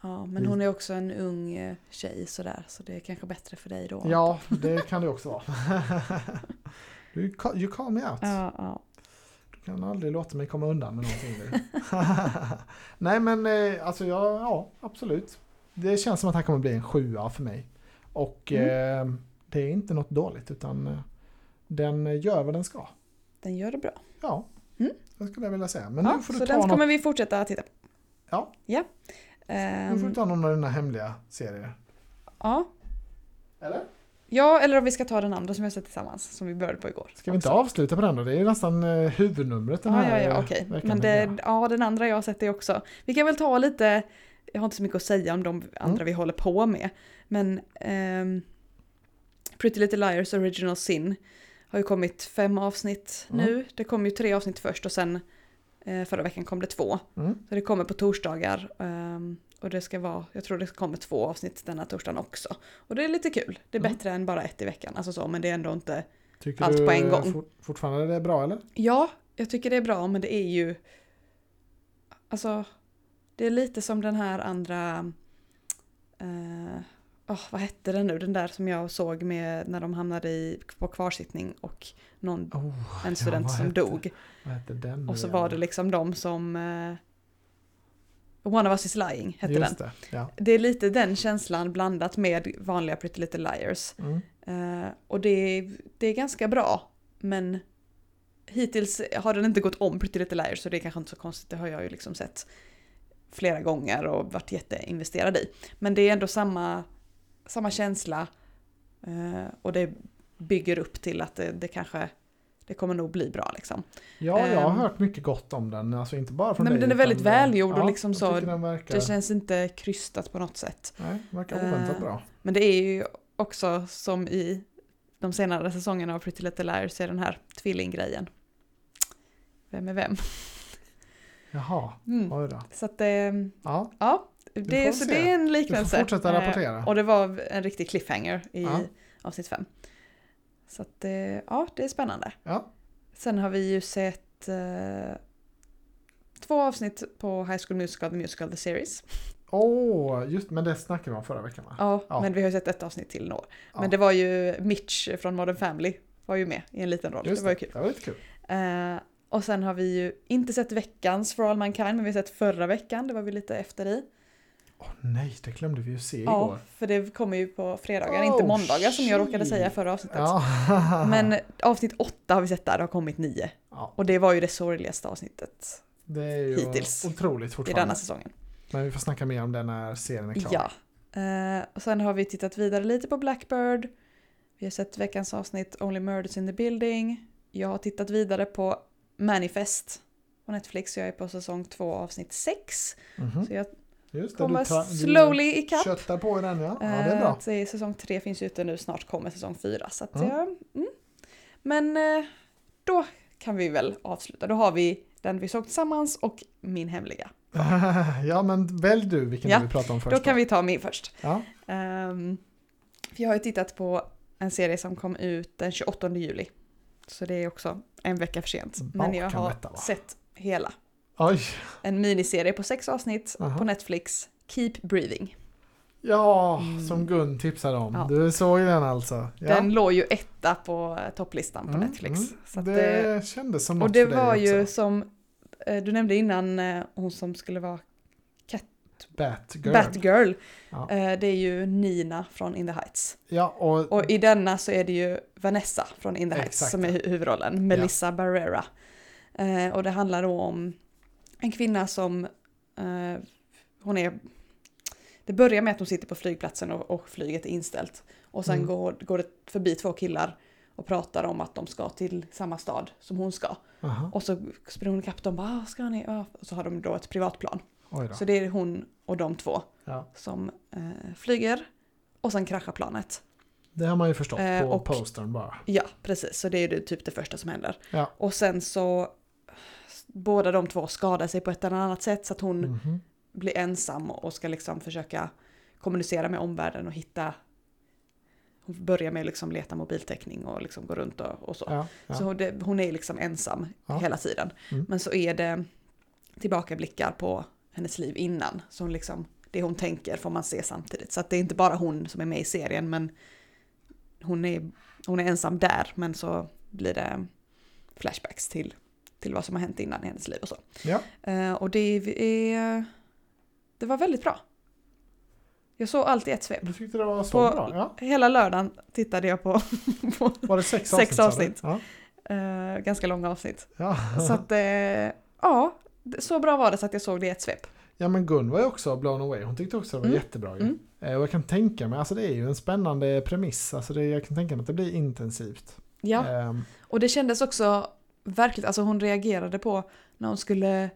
[SPEAKER 2] Ja, men
[SPEAKER 1] Mm.
[SPEAKER 2] hon är också en ung eh, tjej sådär, så det är kanske bättre för dig då.
[SPEAKER 1] Ja, det kan det också vara. <laughs> You ca- you call me out.
[SPEAKER 2] Ja, ja.
[SPEAKER 1] Du kan aldrig låta mig komma undan med någonting nu. <laughs> Nej men eh, alltså ja, ja, absolut. Det känns som att han kommer bli en sjua för mig. Och
[SPEAKER 2] Mm.
[SPEAKER 1] eh, det är inte något dåligt utan eh, den gör vad den ska.
[SPEAKER 2] Den gör det bra.
[SPEAKER 1] Ja,
[SPEAKER 2] Mm.
[SPEAKER 1] det skulle jag vilja säga. Men
[SPEAKER 2] ja,
[SPEAKER 1] nu, får du
[SPEAKER 2] så
[SPEAKER 1] ta
[SPEAKER 2] den
[SPEAKER 1] något,
[SPEAKER 2] kommer vi fortsätta att titta på.
[SPEAKER 1] Ja.
[SPEAKER 2] ja.
[SPEAKER 1] nu får du
[SPEAKER 2] Ehm,
[SPEAKER 1] ta någon av dina hemliga serier.
[SPEAKER 2] ja.
[SPEAKER 1] Eller?
[SPEAKER 2] Ehm, ja, eller om vi ska ta den andra som jag sett tillsammans, som vi började på igår.
[SPEAKER 1] Ska vi inte avsluta på den då? Det är ju nästan eh, huvudnumret den
[SPEAKER 2] Ja,
[SPEAKER 1] här
[SPEAKER 2] ja, ja,
[SPEAKER 1] eh,
[SPEAKER 2] okej.
[SPEAKER 1] veckan.
[SPEAKER 2] Men
[SPEAKER 1] tänker
[SPEAKER 2] det, ja, den andra jag har sett det också. Vi kan väl ta lite, jag har inte så mycket att säga om de andra
[SPEAKER 1] Mm.
[SPEAKER 2] vi håller på med. Men ehm, Pretty Little Liars Original Sin har ju kommit fem avsnitt
[SPEAKER 1] Mm.
[SPEAKER 2] nu. Det kom ju tre avsnitt först och sen eh, förra veckan kom det två.
[SPEAKER 1] jag. Mm.
[SPEAKER 2] Så det kommer på torsdagar. ehm, och det ska vara, jag tror det kommer två avsnitt denna torsdagen också. Och det är lite kul. Det är
[SPEAKER 1] Mm.
[SPEAKER 2] bättre än bara ett i veckan. Alltså så, men det är ändå inte
[SPEAKER 1] Tycker
[SPEAKER 2] Allt
[SPEAKER 1] du
[SPEAKER 2] på en
[SPEAKER 1] eh,
[SPEAKER 2] gång.
[SPEAKER 1] fort- fortfarande det är bra eller?
[SPEAKER 2] Ja, jag tycker det är bra men det är ju... Alltså, det är lite som den här andra... Eh, åh, vad hette den nu? Den där som jag såg med när de hamnade i, på kvarsittning och någon,
[SPEAKER 1] Oh, ja,
[SPEAKER 2] en student
[SPEAKER 1] vad
[SPEAKER 2] som
[SPEAKER 1] hette-
[SPEAKER 2] dog.
[SPEAKER 1] Vad hette den nu
[SPEAKER 2] Och så
[SPEAKER 1] igen?
[SPEAKER 2] var det liksom de som... Eh, One of us is lying hette den.
[SPEAKER 1] Just det, ja.
[SPEAKER 2] Det är lite den känslan blandat med vanliga Pretty Little Liars.
[SPEAKER 1] Mm.
[SPEAKER 2] Eh, och det, det är ganska bra. Men hittills har den inte gått om Pretty Little Liars så det är kanske inte så konstigt. Det har jag ju liksom sett flera gånger och varit jätteinvesterad i. Men det är ändå samma, samma känsla. eh, och det bygger upp till att det, det kanske det kommer nog bli bra liksom.
[SPEAKER 1] Ja, jag har
[SPEAKER 2] Ehm.
[SPEAKER 1] hört mycket gott om den, alltså inte bara från
[SPEAKER 2] Nej, men
[SPEAKER 1] dig,
[SPEAKER 2] den är väldigt
[SPEAKER 1] utan- eh,
[SPEAKER 2] välgjord och
[SPEAKER 1] ja,
[SPEAKER 2] liksom
[SPEAKER 1] jag
[SPEAKER 2] så-
[SPEAKER 1] tycker Den verkar,
[SPEAKER 2] Det känns inte krystat på något sätt.
[SPEAKER 1] nej, verkar oväntat
[SPEAKER 2] Eh,
[SPEAKER 1] bra.
[SPEAKER 2] Men det är ju också som i de senare säsongerna av Pretty Little Liars är den här tvillinggrejen. Vem är vem?
[SPEAKER 1] Jaha,
[SPEAKER 2] Mm.
[SPEAKER 1] oj då.
[SPEAKER 2] Så att det,
[SPEAKER 1] Ja,
[SPEAKER 2] ja,
[SPEAKER 1] får
[SPEAKER 2] det, så
[SPEAKER 1] se.
[SPEAKER 2] det är en
[SPEAKER 1] du får
[SPEAKER 2] liknelse.
[SPEAKER 1] fortsätta
[SPEAKER 2] Eh,
[SPEAKER 1] rapportera.
[SPEAKER 2] Och det var en riktig cliffhanger i
[SPEAKER 1] Ja.
[SPEAKER 2] avsnitt 5. Så att det, ja, det är spännande.
[SPEAKER 1] Ja.
[SPEAKER 2] Sen har vi ju sett eh, två avsnitt på High School Musical, The Musical, The Series.
[SPEAKER 1] Åh, just, men det snackade vi om förra veckan va?
[SPEAKER 2] Ja,
[SPEAKER 1] Ja.
[SPEAKER 2] men vi har ju sett ett avsnitt till nu. Men
[SPEAKER 1] Ja.
[SPEAKER 2] det var ju Mitch från Modern Family var ju med i en liten roll.
[SPEAKER 1] Just
[SPEAKER 2] det var ju kul.
[SPEAKER 1] Det var lite kul.
[SPEAKER 2] Eh, och sen har vi ju inte sett veckans For All Mankind, men vi har sett förra veckan. Det var vi lite efter i.
[SPEAKER 1] Åh nej, det glömde vi ju se
[SPEAKER 2] Ja,
[SPEAKER 1] igår.
[SPEAKER 2] för det kommer ju på fredagar,
[SPEAKER 1] Oh,
[SPEAKER 2] inte måndagar som jag råkade
[SPEAKER 1] shit.
[SPEAKER 2] säga förra avsnittet.
[SPEAKER 1] Ja. <laughs>
[SPEAKER 2] Men avsnitt åtta har vi sett där, det har kommit nio.
[SPEAKER 1] ja,
[SPEAKER 2] Och det var ju det sorgligaste avsnittet
[SPEAKER 1] det är ju
[SPEAKER 2] hittills.
[SPEAKER 1] otroligt
[SPEAKER 2] i
[SPEAKER 1] fortfarande.
[SPEAKER 2] denna säsongen.
[SPEAKER 1] Men vi får snacka mer om den när serien är klar.
[SPEAKER 2] Ja. Eh, och sen har vi tittat vidare lite på Blackbird. Vi har sett veckans avsnitt Only Murders in the Building. Jag har tittat vidare på Manifest på Netflix. Jag är på säsong två avsnitt sex.
[SPEAKER 1] Mhm.
[SPEAKER 2] Så jag
[SPEAKER 1] Just det,
[SPEAKER 2] kommer
[SPEAKER 1] du tar- du
[SPEAKER 2] slowly ikapp.
[SPEAKER 1] Köttar på i den ja. ja, det är
[SPEAKER 2] Eh,
[SPEAKER 1] bra.
[SPEAKER 2] att det är säsong tre finns ju ute nu, snart kommer säsong fyra. Så att
[SPEAKER 1] Mm.
[SPEAKER 2] jag, mm. Men eh, då kan vi väl avsluta. Då har vi den vi såg tillsammans och min hemliga.
[SPEAKER 1] <laughs> ja men välj du vilken
[SPEAKER 2] Ja,
[SPEAKER 1] du vill prata om först.
[SPEAKER 2] Då kan vi ta min först.
[SPEAKER 1] Ja,
[SPEAKER 2] Ehm, för jag har ju tittat på en serie som kom ut den 28 juli. Så det är också en vecka för sent.
[SPEAKER 1] Mm.
[SPEAKER 2] Men jag
[SPEAKER 1] Bakan
[SPEAKER 2] har
[SPEAKER 1] detta, va?
[SPEAKER 2] sett hela.
[SPEAKER 1] oj.
[SPEAKER 2] En miniserie på sex avsnitt
[SPEAKER 1] Aha.
[SPEAKER 2] på Netflix. Keep Breathing.
[SPEAKER 1] Ja,
[SPEAKER 2] Mm.
[SPEAKER 1] som Gun tipsade om.
[SPEAKER 2] Ja.
[SPEAKER 1] Du såg den alltså. Ja.
[SPEAKER 2] Den låg ju etta på eh, topplistan på
[SPEAKER 1] Mm,
[SPEAKER 2] Netflix.
[SPEAKER 1] mm.
[SPEAKER 2] Så att eh,
[SPEAKER 1] det,
[SPEAKER 2] det-
[SPEAKER 1] kändes som
[SPEAKER 2] Och
[SPEAKER 1] något
[SPEAKER 2] det
[SPEAKER 1] för
[SPEAKER 2] var
[SPEAKER 1] dig
[SPEAKER 2] ju
[SPEAKER 1] också.
[SPEAKER 2] som eh, du nämnde innan, eh, hon som skulle vara
[SPEAKER 1] Batgirl.
[SPEAKER 2] Batgirl.
[SPEAKER 1] Ja.
[SPEAKER 2] Eh, Det är ju Nina från In the Heights.
[SPEAKER 1] Ja, och,
[SPEAKER 2] Och i denna så är det ju Vanessa från In the Heights
[SPEAKER 1] Exakt.
[SPEAKER 2] som är hu- huvudrollen, Melissa Barrera. Eh, Och det handlar då om en kvinna som, eh, hon är, det börjar med att hon sitter på flygplatsen och, och flyget är inställt. Och sen
[SPEAKER 1] Mm.
[SPEAKER 2] går, går det förbi två killar och pratar om att de ska till samma stad som hon ska.
[SPEAKER 1] aha,
[SPEAKER 2] Och så springer hon ikapp dem, bara, "Ah, ska ni? Ah." Och så har de då ett privatplan.
[SPEAKER 1] oj då.
[SPEAKER 2] Så det är hon och de två
[SPEAKER 1] Ja.
[SPEAKER 2] som eh, flyger. Och sen kraschar planet.
[SPEAKER 1] Det har man ju förstått
[SPEAKER 2] Eh,
[SPEAKER 1] på
[SPEAKER 2] och-
[SPEAKER 1] postern bara.
[SPEAKER 2] Ja, precis. Så det är ju det- typ det första som händer.
[SPEAKER 1] Ja.
[SPEAKER 2] Och sen så båda de två skadar sig på ett eller annat sätt så att hon
[SPEAKER 1] Mhm.
[SPEAKER 2] blir ensam och ska liksom försöka kommunicera med omvärlden och hitta hon börjar med att liksom leta mobiltäckning och liksom gå runt och, och så.
[SPEAKER 1] Ja, ja.
[SPEAKER 2] Så hon, det, hon är liksom ensam
[SPEAKER 1] Ja.
[SPEAKER 2] hela tiden.
[SPEAKER 1] Mm.
[SPEAKER 2] Men så är det tillbakablickar på hennes liv innan. Så hon liksom, det hon tänker får man se samtidigt. Så att det är inte bara hon som är med i serien men hon är, hon är ensam där men så blir det flashbacks till, till vad som har hänt innan i hennes liv och så.
[SPEAKER 1] ja.
[SPEAKER 2] Eh, och det är... Det var väldigt bra. Jag såg allt i ett svep.
[SPEAKER 1] Du tyckte det var så
[SPEAKER 2] På-
[SPEAKER 1] bra? Ja.
[SPEAKER 2] Hela lördagen tittade jag på, <laughs> på
[SPEAKER 1] Var det sex,
[SPEAKER 2] Sex
[SPEAKER 1] avsnitt?
[SPEAKER 2] avsnitt.
[SPEAKER 1] sa du?
[SPEAKER 2] eh, ganska långa avsnitt.
[SPEAKER 1] Ja. Ja.
[SPEAKER 2] Så att, eh, ja, det- så bra var det så att jag såg det i ett svep.
[SPEAKER 1] ja, men Gun var ju också blown away. Hon tyckte också det var
[SPEAKER 2] Mm.
[SPEAKER 1] jättebra ju.
[SPEAKER 2] Mm.
[SPEAKER 1] Eh, Och jag kan tänka mig, alltså det är ju en spännande premiss. Alltså det, jag kan tänka mig att det blir intensivt.
[SPEAKER 2] Ja,
[SPEAKER 1] Ehm,
[SPEAKER 2] och det kändes också verkligt, alltså hon reagerade på när hon skulle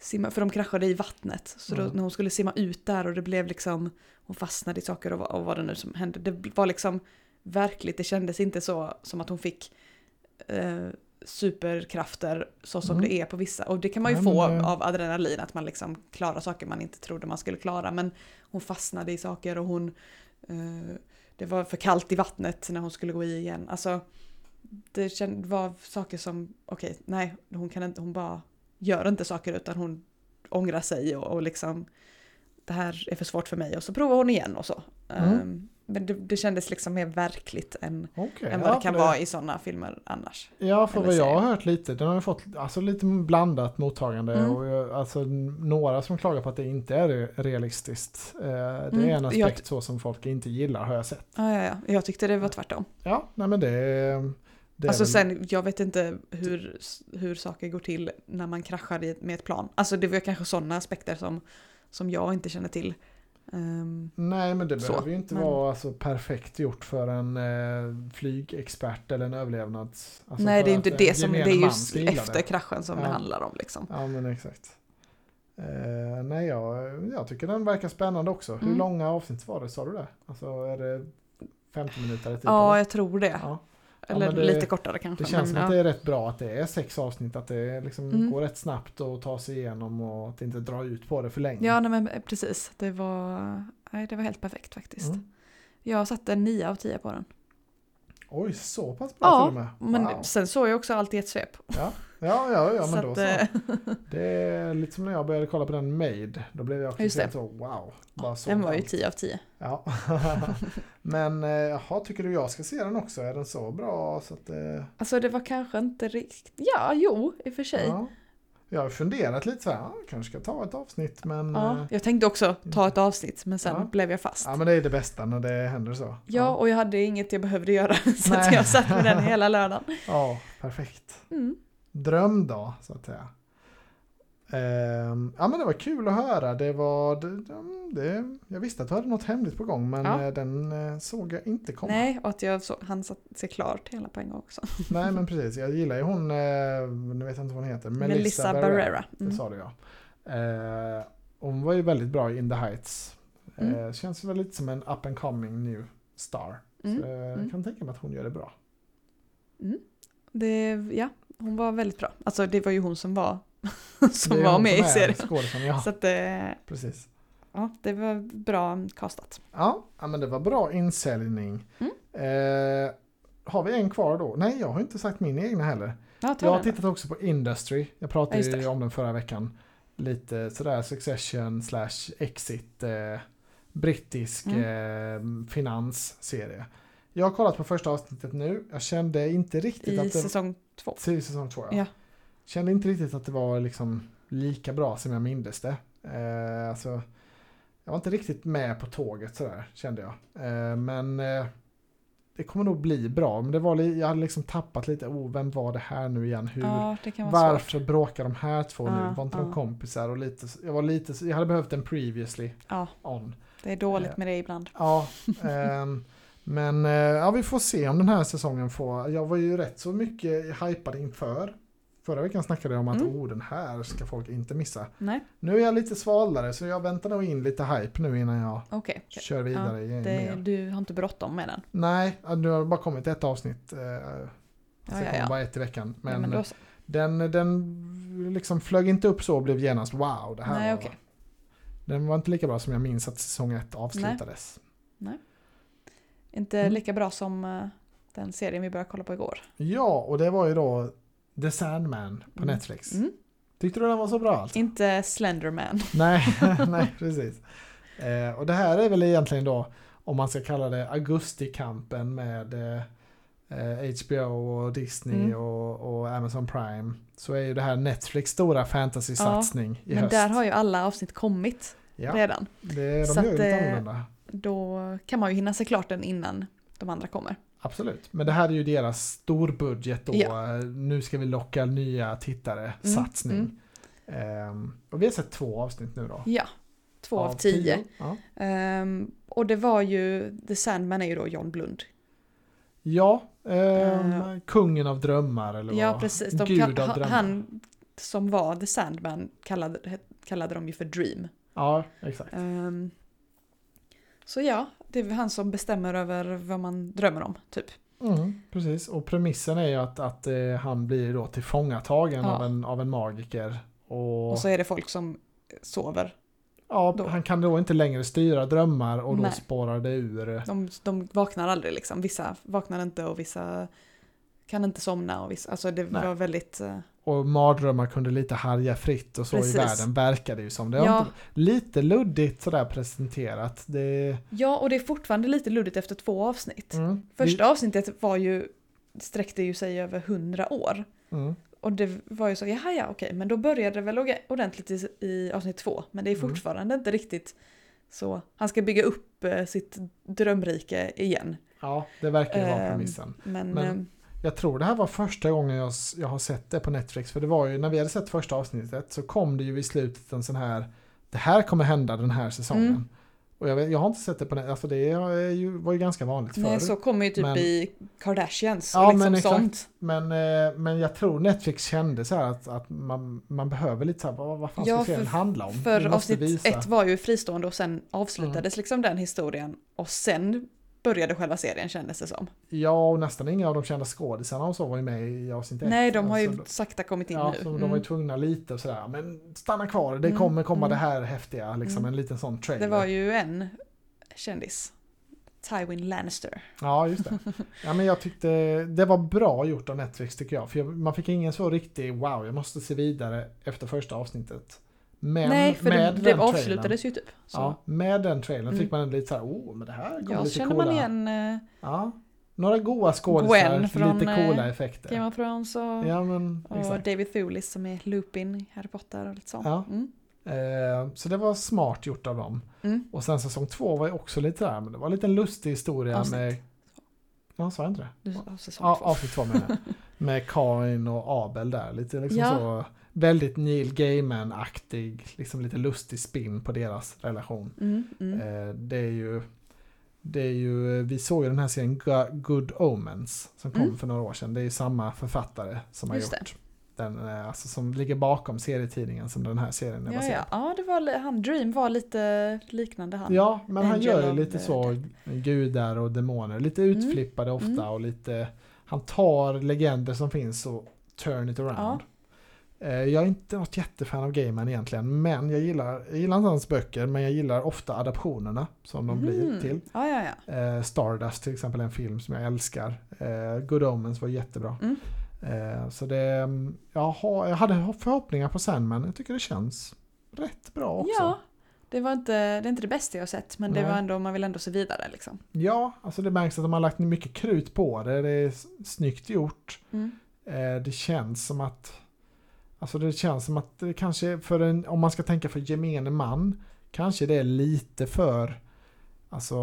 [SPEAKER 2] simma, för de kraschade i vattnet. Så då,
[SPEAKER 1] Mm.
[SPEAKER 2] när hon skulle simma ut där och det blev liksom, hon fastnade i saker och, vad- och vad det nu som hände. Det var liksom verkligt, det kändes inte så som att hon fick eh, superkrafter så som
[SPEAKER 1] Mm.
[SPEAKER 2] det är på vissa. Och det kan man ju
[SPEAKER 1] Nej,
[SPEAKER 2] få
[SPEAKER 1] men det-
[SPEAKER 2] av adrenalin, att man liksom klarar saker man inte trodde man skulle klara. Men hon fastnade i saker och hon... Eh, det var för kallt i vattnet när hon skulle gå i igen. Alltså, det känd, var saker som... Okej, nej, hon kan inte... Hon bara gör inte saker utan hon ångrar sig och, och liksom... Det här är för svårt för mig och så provar hon igen och så.
[SPEAKER 1] Mm.
[SPEAKER 2] Eh, men det, det kändes liksom mer verkligt än,
[SPEAKER 1] Okej.
[SPEAKER 2] än vad
[SPEAKER 1] ja,
[SPEAKER 2] det kan
[SPEAKER 1] för
[SPEAKER 2] vara i sådana filmer annars.
[SPEAKER 1] Ja, för
[SPEAKER 2] Eller
[SPEAKER 1] vad jag
[SPEAKER 2] serie.
[SPEAKER 1] har hört lite, den har ju fått alltså, lite blandat mottagande.
[SPEAKER 2] Mm.
[SPEAKER 1] Och, jag- alltså, n- några som klagar på att det inte är re- realistiskt. Eh, det
[SPEAKER 2] Mm,
[SPEAKER 1] är en
[SPEAKER 2] jag
[SPEAKER 1] aspekt så som folk inte gillar har jag sett.
[SPEAKER 2] Ja, ja, ja. Jag tyckte det var tvärtom.
[SPEAKER 1] Ja, nej men det, det är
[SPEAKER 2] Alltså
[SPEAKER 1] väl-
[SPEAKER 2] sen, jag vet inte hur, hur saker går till när man kraschar i, med ett plan. Alltså det var kanske sådana aspekter som, som jag inte känner till. Eh, Ehm,
[SPEAKER 1] Nej, men det
[SPEAKER 2] Så,
[SPEAKER 1] behöver ju inte
[SPEAKER 2] men-
[SPEAKER 1] vara alltså, perfekt gjort för en eh, flygexpert eller en överlevnads... Alltså,
[SPEAKER 2] nej,
[SPEAKER 1] för
[SPEAKER 2] det är
[SPEAKER 1] att
[SPEAKER 2] inte
[SPEAKER 1] en
[SPEAKER 2] det som, det
[SPEAKER 1] gemene
[SPEAKER 2] är
[SPEAKER 1] man
[SPEAKER 2] just
[SPEAKER 1] ska gilla
[SPEAKER 2] efter kraschen som
[SPEAKER 1] Ja.
[SPEAKER 2] det handlar om liksom.
[SPEAKER 1] Ja, men exakt. Eh, nej, jag, jag tycker den verkar spännande också. Hur
[SPEAKER 2] Mm.
[SPEAKER 1] långa avsnitt var det? Sa du det? Alltså, är det 50 minuter eller 10?
[SPEAKER 2] Ja, jag tror det.
[SPEAKER 1] Ja.
[SPEAKER 2] Eller
[SPEAKER 1] men det-
[SPEAKER 2] lite kortare kanske.
[SPEAKER 1] Det känns som
[SPEAKER 2] men,
[SPEAKER 1] att
[SPEAKER 2] ja.
[SPEAKER 1] det är rätt bra att det är sex avsnitt, att det liksom
[SPEAKER 2] Mm.
[SPEAKER 1] går rätt snabbt att ta sig igenom och att inte dra ut på det för länge.
[SPEAKER 2] ja, nej, men eh, precis. Det var, nej, det var helt perfekt faktiskt.
[SPEAKER 1] Mm.
[SPEAKER 2] Jag satte 9 av 10 på den.
[SPEAKER 1] Oj, så pass bra
[SPEAKER 2] Ja,
[SPEAKER 1] till och med.
[SPEAKER 2] Men
[SPEAKER 1] Wow.
[SPEAKER 2] sen såg jag också allt i ett svep.
[SPEAKER 1] Ja, ja, ja,
[SPEAKER 2] Så
[SPEAKER 1] men då
[SPEAKER 2] att,
[SPEAKER 1] så.
[SPEAKER 2] eh,
[SPEAKER 1] Det är lite som när jag började kolla på den Made. Då blev jag också
[SPEAKER 2] Just det.
[SPEAKER 1] helt så wow. Bara <laughs> så
[SPEAKER 2] den var ju
[SPEAKER 1] allt.
[SPEAKER 2] 10 av 10.
[SPEAKER 1] Ja. <laughs> men eh, jaha, tycker du jag ska se den också? Är den så bra? Så att, eh,
[SPEAKER 2] Alltså det var kanske inte riktigt, ja jo i och för sig. Ja.
[SPEAKER 1] ja. Jag har funderat lite så här, ja, kanske ska ta ett avsnitt men... eh,
[SPEAKER 2] Jag tänkte också ta ett avsnitt men sen
[SPEAKER 1] Ja.
[SPEAKER 2] blev jag fast.
[SPEAKER 1] Ja men det är det bästa när det händer så.
[SPEAKER 2] Ja, och jag hade inget jag behövde göra <laughs> så att
[SPEAKER 1] Nej.
[SPEAKER 2] jag satt med den hela lördagen.
[SPEAKER 1] <laughs> ja perfekt.
[SPEAKER 2] Mm.
[SPEAKER 1] dröm då, så att säga. Ehm, ja men det var kul att höra. Det var, det, det- det, jag visste att du hade något hemligt på gång men
[SPEAKER 2] Ja.
[SPEAKER 1] eh, den eh, såg jag inte komma. Nej.
[SPEAKER 2] Nej, och att jag så, han satt sig klart hela på en gång också.
[SPEAKER 1] men precis, jag gillar ju hon, eh, nu vet jag inte vad hon heter, Melissa,
[SPEAKER 2] Melissa
[SPEAKER 1] Barrera.
[SPEAKER 2] Barrera.
[SPEAKER 1] Det
[SPEAKER 2] Mm.
[SPEAKER 1] sa du ja. Eh, hon var ju väldigt bra i In the Heights. Eh,
[SPEAKER 2] Mm.
[SPEAKER 1] Känns väl lite som en up and coming new star. Så,
[SPEAKER 2] Mm.
[SPEAKER 1] eh,
[SPEAKER 2] mm.
[SPEAKER 1] Jag kan tänka mig att hon gör det bra.
[SPEAKER 2] Det, ja, hon var väldigt bra. Alltså det var ju hon som var, <laughs> som
[SPEAKER 1] Det är
[SPEAKER 2] var
[SPEAKER 1] hon som
[SPEAKER 2] med i
[SPEAKER 1] är Ah.
[SPEAKER 2] serien.
[SPEAKER 1] skådisen, ja,
[SPEAKER 2] Så att det,
[SPEAKER 1] precis.
[SPEAKER 2] ja, det var bra castat.
[SPEAKER 1] Ja, ja, men det var bra insäljning.
[SPEAKER 2] Mm.
[SPEAKER 1] Eh, har vi en kvar då? Nej, jag har inte sagt min egna heller.
[SPEAKER 2] Ja, ta
[SPEAKER 1] Jag har
[SPEAKER 2] den.
[SPEAKER 1] tittat också på Industry. Jag pratade
[SPEAKER 2] Ja, just
[SPEAKER 1] ju
[SPEAKER 2] det.
[SPEAKER 1] om den förra veckan. Lite sådär Succession slash Exit. Eh, brittisk
[SPEAKER 2] Mm.
[SPEAKER 1] eh, finansserie. Jag har kollat på första avsnittet nu. Jag kände inte riktigt
[SPEAKER 2] I
[SPEAKER 1] att det...
[SPEAKER 2] säsong två.
[SPEAKER 1] Till säsong två, ja.
[SPEAKER 2] Ja.
[SPEAKER 1] Kände inte riktigt att det var liksom lika bra som jag mindes det. Eh, alltså, jag var inte riktigt med på tåget sådär, kände jag. Eh, men eh, det kommer nog bli bra. Men det var, li- jag hade liksom tappat lite, oh, vem var det här nu igen? Hur,
[SPEAKER 2] Ja, det kan vara svårt.
[SPEAKER 1] varför bråkar de här två
[SPEAKER 2] Ja,
[SPEAKER 1] nu? Var inte de
[SPEAKER 2] ja.
[SPEAKER 1] kompisar? Och lite, så- jag, var lite, så- jag hade behövt en previously
[SPEAKER 2] Ja,
[SPEAKER 1] on.
[SPEAKER 2] det är dåligt med det ibland.
[SPEAKER 1] Ja, ehm, men eh, ja, vi får se om den här säsongen får. Jag var ju rätt så mycket hypad inför. Förra veckan snackade jag om att
[SPEAKER 2] Mm.
[SPEAKER 1] oh, den här ska folk inte missa.
[SPEAKER 2] Nej,
[SPEAKER 1] Nu är jag lite svalare så jag väntar nog in lite hype nu innan jag
[SPEAKER 2] okej.
[SPEAKER 1] kör vidare. i
[SPEAKER 2] Det,
[SPEAKER 1] mer.
[SPEAKER 2] du har inte bråttom med den.
[SPEAKER 1] Nej, ja, nu har det bara kommit ett avsnitt. Eh, ja,
[SPEAKER 2] Ja, ja,
[SPEAKER 1] kommer
[SPEAKER 2] ja.
[SPEAKER 1] bara ett i veckan. Men, eh,
[SPEAKER 2] ja, men då så.
[SPEAKER 1] den, den liksom flög inte upp så och blev genast wow. Det här
[SPEAKER 2] Nej,
[SPEAKER 1] var,
[SPEAKER 2] okej.
[SPEAKER 1] Den var inte lika bra som jag minns att säsong ett avslutades.
[SPEAKER 2] Inte
[SPEAKER 1] Mm.
[SPEAKER 2] lika bra som eh, den serien vi började kolla på igår.
[SPEAKER 1] Ja, och det var ju då The Sandman på
[SPEAKER 2] Mm.
[SPEAKER 1] Netflix.
[SPEAKER 2] Mm.
[SPEAKER 1] Tyckte du den var så bra alltså?
[SPEAKER 2] Inte Slenderman. <laughs>
[SPEAKER 1] nej, <laughs> nej, precis. Eh, och det här är väl egentligen då, om man ska kalla det augustikampen med eh, eh, HBO och Disney
[SPEAKER 2] Mm.
[SPEAKER 1] och, och Amazon Prime. Så är ju det här Netflix stora fantasy-satsning i
[SPEAKER 2] Men
[SPEAKER 1] höst.
[SPEAKER 2] där har ju alla avsnitt kommit
[SPEAKER 1] ja,
[SPEAKER 2] redan.
[SPEAKER 1] det, de
[SPEAKER 2] så
[SPEAKER 1] gör ju
[SPEAKER 2] att,
[SPEAKER 1] lite
[SPEAKER 2] eh,
[SPEAKER 1] annorlunda.
[SPEAKER 2] Då kan man ju hinna se klart den innan de andra kommer.
[SPEAKER 1] Absolut, men det här är ju deras storbudget då. Nu ska vi locka nya tittare, satsning.
[SPEAKER 2] mm.
[SPEAKER 1] Ehm, och vi har sett två avsnitt nu då.
[SPEAKER 2] Ja, två av, tio.
[SPEAKER 1] Ja.
[SPEAKER 2] Ehm, och det var ju, The Sandman är ju då John Blund.
[SPEAKER 1] ja ehm, kungen av drömmar eller
[SPEAKER 2] Eh. Ja,
[SPEAKER 1] vad?
[SPEAKER 2] precis. De
[SPEAKER 1] Gud
[SPEAKER 2] kall-
[SPEAKER 1] av
[SPEAKER 2] han,
[SPEAKER 1] drömmar.
[SPEAKER 2] han som var The Sandman kallade, kallade de ju för Dream.
[SPEAKER 1] Ja, exakt.
[SPEAKER 2] Ehm, så ja, det är väl han som bestämmer över vad man drömmer om, typ.
[SPEAKER 1] Mm, precis. Och premissen är ju att, att eh, han blir då tillfångatagen
[SPEAKER 2] Ja.
[SPEAKER 1] av, en, av en magiker. Och,
[SPEAKER 2] Och så är det folk som sover.
[SPEAKER 1] ja,
[SPEAKER 2] då-
[SPEAKER 1] Han kan då inte längre styra drömmar och då
[SPEAKER 2] Nej.
[SPEAKER 1] spårar det ur.
[SPEAKER 2] De, de vaknar aldrig liksom. Vissa vaknar inte och vissa kan inte somna. Och vissa, alltså det
[SPEAKER 1] Nej.
[SPEAKER 2] var väldigt... eh,
[SPEAKER 1] Och mardrömmar kunde lite härja fritt och så
[SPEAKER 2] Precis.
[SPEAKER 1] i världen verkar det ju som. Det har
[SPEAKER 2] Ja.
[SPEAKER 1] inte, lite luddigt sådär presenterat. Det,
[SPEAKER 2] Ja, och det är fortfarande lite luddigt efter två avsnitt.
[SPEAKER 1] mm,
[SPEAKER 2] Första avsnittet var ju, sträckte ju sig över hundra år.
[SPEAKER 1] det, mm,
[SPEAKER 2] Och det var ju så, jaha ja okej, men då började det väl oge- ordentligt i, i avsnitt två. Men det är
[SPEAKER 1] Mm.
[SPEAKER 2] fortfarande inte riktigt så. Han ska bygga upp eh, sitt drömrike igen.
[SPEAKER 1] ja, det verkar ju vara
[SPEAKER 2] Ehm,
[SPEAKER 1] premissen.
[SPEAKER 2] Men,
[SPEAKER 1] Men-
[SPEAKER 2] eh,
[SPEAKER 1] Jag tror det här var första gången jag, s- jag har sett det på Netflix. För det var ju när vi hade sett första avsnittet så kom det ju i slutet en sån här Det här kommer hända den här säsongen.
[SPEAKER 2] Mm.
[SPEAKER 1] Och jag, vet, jag har inte sett det på nätet, alltså det är ju, var ju ganska vanligt
[SPEAKER 2] Nej,
[SPEAKER 1] förut.
[SPEAKER 2] så kommer ju typ
[SPEAKER 1] Men-
[SPEAKER 2] i Kardashians. och
[SPEAKER 1] Ja,
[SPEAKER 2] liksom
[SPEAKER 1] men exakt.
[SPEAKER 2] sånt.
[SPEAKER 1] Men, eh, men jag tror Netflix kände så här att, att man, man behöver lite så här, vad, vad fan ska
[SPEAKER 2] Ja,
[SPEAKER 1] serien
[SPEAKER 2] för-
[SPEAKER 1] handla om? Vi
[SPEAKER 2] För
[SPEAKER 1] måste
[SPEAKER 2] avsnitt
[SPEAKER 1] visa.
[SPEAKER 2] ett var ju fristående och sen avslutades liksom den historien. Och sen började själva serien kändes det som.
[SPEAKER 1] Ja, och nästan inga av de kända skådisarna och så var ju med i avsnitt ett.
[SPEAKER 2] Nej, de har ju
[SPEAKER 1] Alltså,
[SPEAKER 2] sakta kommit in
[SPEAKER 1] ja,
[SPEAKER 2] nu.
[SPEAKER 1] så
[SPEAKER 2] Mm.
[SPEAKER 1] de var ju tvungna lite och sådär, men stanna kvar, det
[SPEAKER 2] Mm,
[SPEAKER 1] kommer komma
[SPEAKER 2] mm.
[SPEAKER 1] det här häftiga, liksom
[SPEAKER 2] Mm.
[SPEAKER 1] en liten sån trailer.
[SPEAKER 2] Det var ju en kändis. Tywin Lannister.
[SPEAKER 1] Ja, just det. Ja, men jag tyckte det var bra gjort av Netflix tycker jag. För jag, man fick ingen så riktig wow, jag måste se vidare efter första avsnittet. Men
[SPEAKER 2] Nej, för
[SPEAKER 1] med
[SPEAKER 2] det, det
[SPEAKER 1] den trailern,
[SPEAKER 2] avslutades ju typ. Så.
[SPEAKER 1] ja, med den trailern
[SPEAKER 2] Mm.
[SPEAKER 1] fick man lite så här, oh, men det här går
[SPEAKER 2] ja,
[SPEAKER 1] lite
[SPEAKER 2] känner
[SPEAKER 1] coola.
[SPEAKER 2] man igen eh,
[SPEAKER 1] Ja. Några goa skådisar,
[SPEAKER 2] Gwen från,
[SPEAKER 1] lite coola
[SPEAKER 2] eh,
[SPEAKER 1] effekter.
[SPEAKER 2] Game of Thrones och,
[SPEAKER 1] Ja, men
[SPEAKER 2] och
[SPEAKER 1] exakt.
[SPEAKER 2] David Thewlis som är Lupin i Harry Potter och lite sånt.
[SPEAKER 1] Ja.
[SPEAKER 2] Mm.
[SPEAKER 1] Eh, så det var smart gjort av dem.
[SPEAKER 2] Mm.
[SPEAKER 1] Och sen säsong två var ju också lite där, men det var en liten lustig historia
[SPEAKER 2] Avsnitt.
[SPEAKER 1] med... Ja, sa jag inte det?
[SPEAKER 2] Du har säsong
[SPEAKER 1] Ja,
[SPEAKER 2] två.
[SPEAKER 1] avsnitt två menar
[SPEAKER 2] <laughs>
[SPEAKER 1] jag. Med Karin och Abel där. Lite liksom
[SPEAKER 2] Ja.
[SPEAKER 1] så väldigt Neil Gaiman-aktig, liksom lite lustig spin på deras relation.
[SPEAKER 2] Mm, mm.
[SPEAKER 1] Eh, det är ju, det är ju, eh, vi såg ju den här serien Go- Good Omens som kom
[SPEAKER 2] Mm.
[SPEAKER 1] för några år sedan. Det är ju samma författare som har
[SPEAKER 2] Just det.
[SPEAKER 1] gjort den, eh, alltså som ligger bakom serietidningen som den här serien är
[SPEAKER 2] Ja,
[SPEAKER 1] baserad
[SPEAKER 2] ja. ja det var, li- han Dream var lite liknande han.
[SPEAKER 1] Ja, men han
[SPEAKER 2] Angel
[SPEAKER 1] gör ju
[SPEAKER 2] of
[SPEAKER 1] lite
[SPEAKER 2] the
[SPEAKER 1] så gudar och demoner. Lite utflippade ofta
[SPEAKER 2] Mm.
[SPEAKER 1] och lite... Han tar legender som finns och turn it around. Eh, Jag är inte något jättefan av Gaiman egentligen, men jag gillar, jag gillar inte hans böcker, men jag gillar ofta adaptionerna som de blir
[SPEAKER 2] Mhm.
[SPEAKER 1] till.
[SPEAKER 2] Ja, ja, ja.
[SPEAKER 1] Eh, Stardust till exempel är en film som jag älskar. Eh, Good Omens var jättebra.
[SPEAKER 2] Mm.
[SPEAKER 1] Eh, så det, jag, har, jag hade förhoppningar på Sandman, jag tycker det känns rätt bra också.
[SPEAKER 2] ja. Det, var inte, det är inte det bästa jag har sett men det
[SPEAKER 1] Nej.
[SPEAKER 2] var ändå, man vill ändå se vidare liksom.
[SPEAKER 1] Ja, alltså det märks att de har lagt ner mycket krut på det. Det är s- snyggt gjort.
[SPEAKER 2] Mm.
[SPEAKER 1] Eh, Det känns som att... Alltså det känns som att det kanske för en, om man ska tänka för gemene man, kanske det är lite för, alltså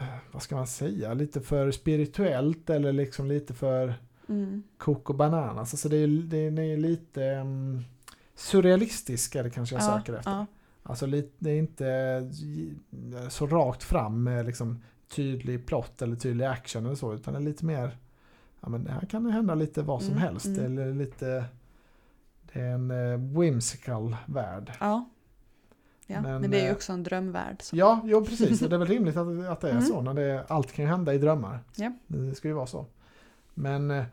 [SPEAKER 1] eh, vad ska man säga, lite för spirituellt eller liksom lite för
[SPEAKER 2] Mm.
[SPEAKER 1] koko bananas. Alltså det är, det är, det är lite um, surrealistiska det kanske jag
[SPEAKER 2] ja,
[SPEAKER 1] söker efter.
[SPEAKER 2] ja.
[SPEAKER 1] Alltså lite- det är inte eh, så rakt fram med liksom tydlig plott eller tydlig action eller så utan det är lite mer ja men det här kan ju hända lite vad som
[SPEAKER 2] Mm,
[SPEAKER 1] helst
[SPEAKER 2] mm.
[SPEAKER 1] eller lite det är en eh, whimsical värld.
[SPEAKER 2] ja. Ja,
[SPEAKER 1] Men,
[SPEAKER 2] men, det är ju
[SPEAKER 1] eh,
[SPEAKER 2] också en drömvärld. Så.
[SPEAKER 1] Ja, jo precis. Och Det är väl rimligt att, att det är
[SPEAKER 2] Mm.
[SPEAKER 1] så när det, allt kan ju hända i drömmar.
[SPEAKER 2] Ja.
[SPEAKER 1] Det ska ju vara så. Men eh,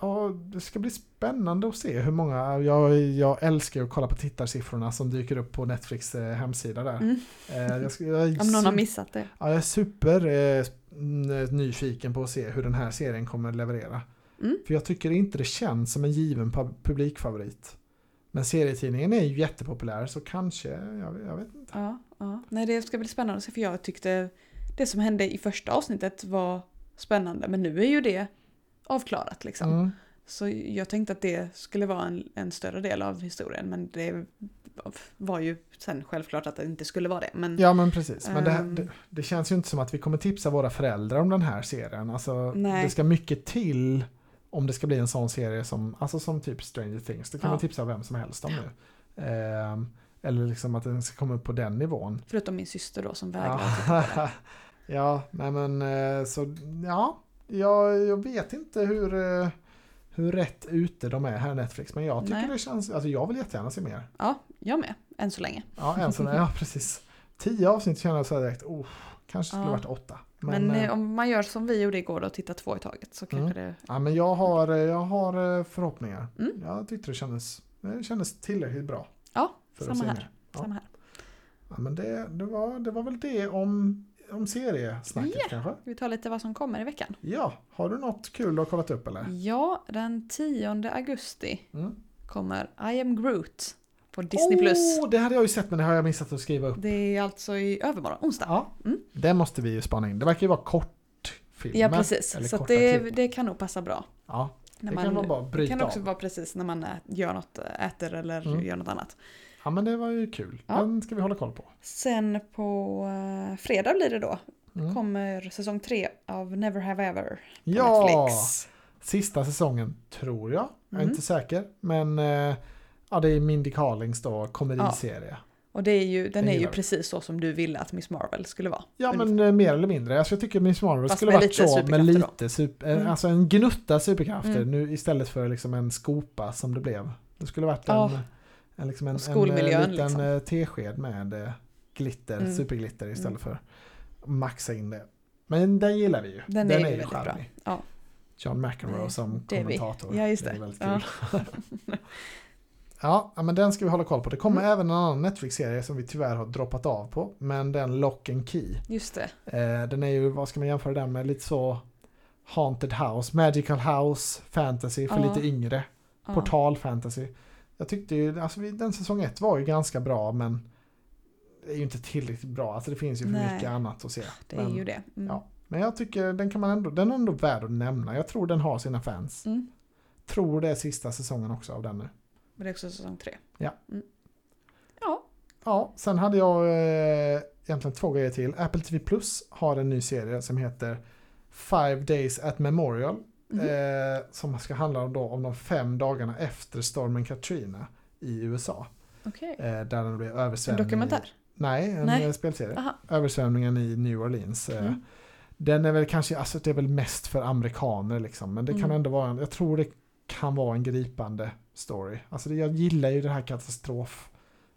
[SPEAKER 1] ja, det ska bli spännande att se hur många, jag, jag älskar ju att kolla på tittarsiffrorna som dyker upp på Netflix eh, hemsida där.
[SPEAKER 2] Mm.
[SPEAKER 1] Eh, jag, ska, jag, är
[SPEAKER 2] Om någon har
[SPEAKER 1] sup-
[SPEAKER 2] missat det.
[SPEAKER 1] ja, jag är super eh, n- nyfiken på att se hur den här serien kommer leverera.
[SPEAKER 2] Mm.
[SPEAKER 1] För jag tycker inte det känns som en given pub- publikfavorit. Men serietidningen är ju jättepopulär så kanske, jag, jag vet inte.
[SPEAKER 2] Ja, ja. Nej, det ska bli spännande att se för jag tyckte det som hände i första avsnittet var spännande men nu är ju det avklarat liksom.
[SPEAKER 1] Mm.
[SPEAKER 2] Så jag tänkte att det skulle vara en, en större del av historien men det var ju sen självklart att det inte skulle vara det. Men
[SPEAKER 1] Ja men precis, men det, här,
[SPEAKER 2] Ehm.
[SPEAKER 1] det, det känns ju inte som att vi kommer tipsa våra föräldrar om den här serien. Alltså,
[SPEAKER 2] Nej.
[SPEAKER 1] det ska mycket till om det ska bli en sån serie som, alltså som typ Stranger Things. Det kan
[SPEAKER 2] Ja.
[SPEAKER 1] man tipsa vem som helst om nu. Ehm, eller liksom att den ska komma upp på den nivån.
[SPEAKER 2] förutom min syster då som vägrade.
[SPEAKER 1] <laughs> Ja, ja nej men eh, så ja, jag, jag vet inte hur, eh, hur rätt ute de är här Netflix. Men jag tycker
[SPEAKER 2] Nej.
[SPEAKER 1] det känns, alltså jag vill jättegärna se mer.
[SPEAKER 2] Ja, jag med. Än så länge.
[SPEAKER 1] Ja, en sån, ja precis. Tio avsnitt känner jag så här direkt, oh, kanske skulle
[SPEAKER 2] Ja.
[SPEAKER 1] varit åtta.
[SPEAKER 2] Men,
[SPEAKER 1] eh, mm.
[SPEAKER 2] eh, om man gör som vi gjorde igår och tittar två i taget så kanske det...
[SPEAKER 1] Ja, men jag har, jag har eh, förhoppningar.
[SPEAKER 2] Mm.
[SPEAKER 1] Jag tyckte det kändes, det kändes tillräckligt bra.
[SPEAKER 2] Ja,
[SPEAKER 1] för att
[SPEAKER 2] samma
[SPEAKER 1] se
[SPEAKER 2] här.
[SPEAKER 1] mer. Ja.
[SPEAKER 2] Samma här.
[SPEAKER 1] Ja, men det, det, var, det var väl det om, om seriesnacket
[SPEAKER 2] Ja.
[SPEAKER 1] kanske?
[SPEAKER 2] Ska vi ta lite vad som kommer i veckan?
[SPEAKER 1] Ja, har du något kul du har kollat upp eller?
[SPEAKER 2] Ja, den 10 augusti
[SPEAKER 1] Mm.
[SPEAKER 2] kommer I am Groot på
[SPEAKER 1] Oh!
[SPEAKER 2] Disney+. Plus.
[SPEAKER 1] Åh, det hade jag ju sett men det har jag missat att skriva upp.
[SPEAKER 2] Det är alltså i övermorgon, onsdag.
[SPEAKER 1] Ja,
[SPEAKER 2] Mm.
[SPEAKER 1] det måste vi ju spana in. Det verkar ju vara kortfilmer.
[SPEAKER 2] Ja, precis.
[SPEAKER 1] Eller
[SPEAKER 2] Så att
[SPEAKER 1] korta
[SPEAKER 2] det,
[SPEAKER 1] klipp.
[SPEAKER 2] det kan nog passa bra.
[SPEAKER 1] Ja,
[SPEAKER 2] När
[SPEAKER 1] det kan vara bara att
[SPEAKER 2] det
[SPEAKER 1] bryta
[SPEAKER 2] kan också
[SPEAKER 1] av.
[SPEAKER 2] vara precis när man ä- gör något, eh, äter eller
[SPEAKER 1] Mm.
[SPEAKER 2] gör något annat.
[SPEAKER 1] Ja, men det var ju kul.
[SPEAKER 2] Ja.
[SPEAKER 1] Den ska vi hålla koll på.
[SPEAKER 2] Sen på eh, fredag blir det då,
[SPEAKER 1] Mm.
[SPEAKER 2] kommer säsong tre av Never Have Ever på
[SPEAKER 1] Ja!
[SPEAKER 2] Netflix.
[SPEAKER 1] Sista säsongen, tror jag. Jag är
[SPEAKER 2] Mm.
[SPEAKER 1] inte säker. Men eh, ja, det är Mindy Carlings då, komediserie.
[SPEAKER 2] Och det är ju, den
[SPEAKER 1] Det
[SPEAKER 2] är ju
[SPEAKER 1] gillar vi.
[SPEAKER 2] precis så som du ville att Miss Marvel skulle vara.
[SPEAKER 1] Ja
[SPEAKER 2] Ungefär.
[SPEAKER 1] men eh, mer eller mindre. Alltså, jag tycker Miss Marvel
[SPEAKER 2] Fast
[SPEAKER 1] skulle
[SPEAKER 2] med
[SPEAKER 1] varit
[SPEAKER 2] lite
[SPEAKER 1] så med
[SPEAKER 2] superkrafter då.
[SPEAKER 1] lite super, eh,
[SPEAKER 2] Mm.
[SPEAKER 1] alltså en gnutta superkrafter
[SPEAKER 2] Mm.
[SPEAKER 1] nu istället för liksom en skopa som det blev. Det skulle varit en,
[SPEAKER 2] Ja.
[SPEAKER 1] en, liksom en,
[SPEAKER 2] Och skolmiljön,
[SPEAKER 1] en eh, liten
[SPEAKER 2] liksom.
[SPEAKER 1] eh, tesked med eh, glitter,
[SPEAKER 2] Mm.
[SPEAKER 1] superglitter istället för
[SPEAKER 2] Mm.
[SPEAKER 1] maxa in det. Men den gillar vi ju.
[SPEAKER 2] Den är ju väldigt bra.
[SPEAKER 1] charmig.
[SPEAKER 2] Ja.
[SPEAKER 1] John McEnroe
[SPEAKER 2] Nej,
[SPEAKER 1] som
[SPEAKER 2] det är vi.
[SPEAKER 1] kommentator.
[SPEAKER 2] Ja, just
[SPEAKER 1] Det
[SPEAKER 2] det.
[SPEAKER 1] är väldigt kul.
[SPEAKER 2] <laughs>
[SPEAKER 1] Ja, ja, men den ska vi hålla koll på. Det
[SPEAKER 2] Mm.
[SPEAKER 1] kommer även en annan Netflix-serie som vi tyvärr har droppat av på. Men den Lock and Key.
[SPEAKER 2] Just det.
[SPEAKER 1] Eh, den är ju, vad ska man jämföra den med, lite så Haunted House, Magical House, Fantasy för
[SPEAKER 2] Ja.
[SPEAKER 1] lite yngre.
[SPEAKER 2] Ja.
[SPEAKER 1] Portal Fantasy. Jag tyckte ju, alltså vi- den säsong ett var ju ganska bra men det är ju inte tillräckligt bra. Alltså det finns ju för
[SPEAKER 2] Nej.
[SPEAKER 1] mycket annat att se.
[SPEAKER 2] Det
[SPEAKER 1] men,
[SPEAKER 2] är ju det. Mm.
[SPEAKER 1] ja. men jag tycker den kan man ändå, den är ändå värd att nämna. Jag tror den har sina fans.
[SPEAKER 2] Mm.
[SPEAKER 1] Tror det är sista säsongen också av den nu.
[SPEAKER 2] Men det är också säsong tre.
[SPEAKER 1] Ja.
[SPEAKER 2] Mm. Ja.
[SPEAKER 1] Ja, sen hade jag eh, egentligen två grejer till. Apple TV Plus har en ny serie som heter Five Days at Memorial.
[SPEAKER 2] Mhm.
[SPEAKER 1] Eh, som ska handla om, då, om de fem dagarna efter stormen Katrina i USA.
[SPEAKER 2] Okej.
[SPEAKER 1] Eh, där den blev
[SPEAKER 2] En
[SPEAKER 1] översvämning.
[SPEAKER 2] dokumentär?
[SPEAKER 1] I, nej, en
[SPEAKER 2] Nej.
[SPEAKER 1] eh, spelserie.
[SPEAKER 2] Aha.
[SPEAKER 1] Översvämningen i New Orleans. Eh,
[SPEAKER 2] Mm.
[SPEAKER 1] Den är väl kanske, alltså det är väl mest för amerikaner liksom. Men det kan
[SPEAKER 2] Mm.
[SPEAKER 1] ändå vara en, jag tror det kan vara en gripande story. Alltså det, jag gillar ju den här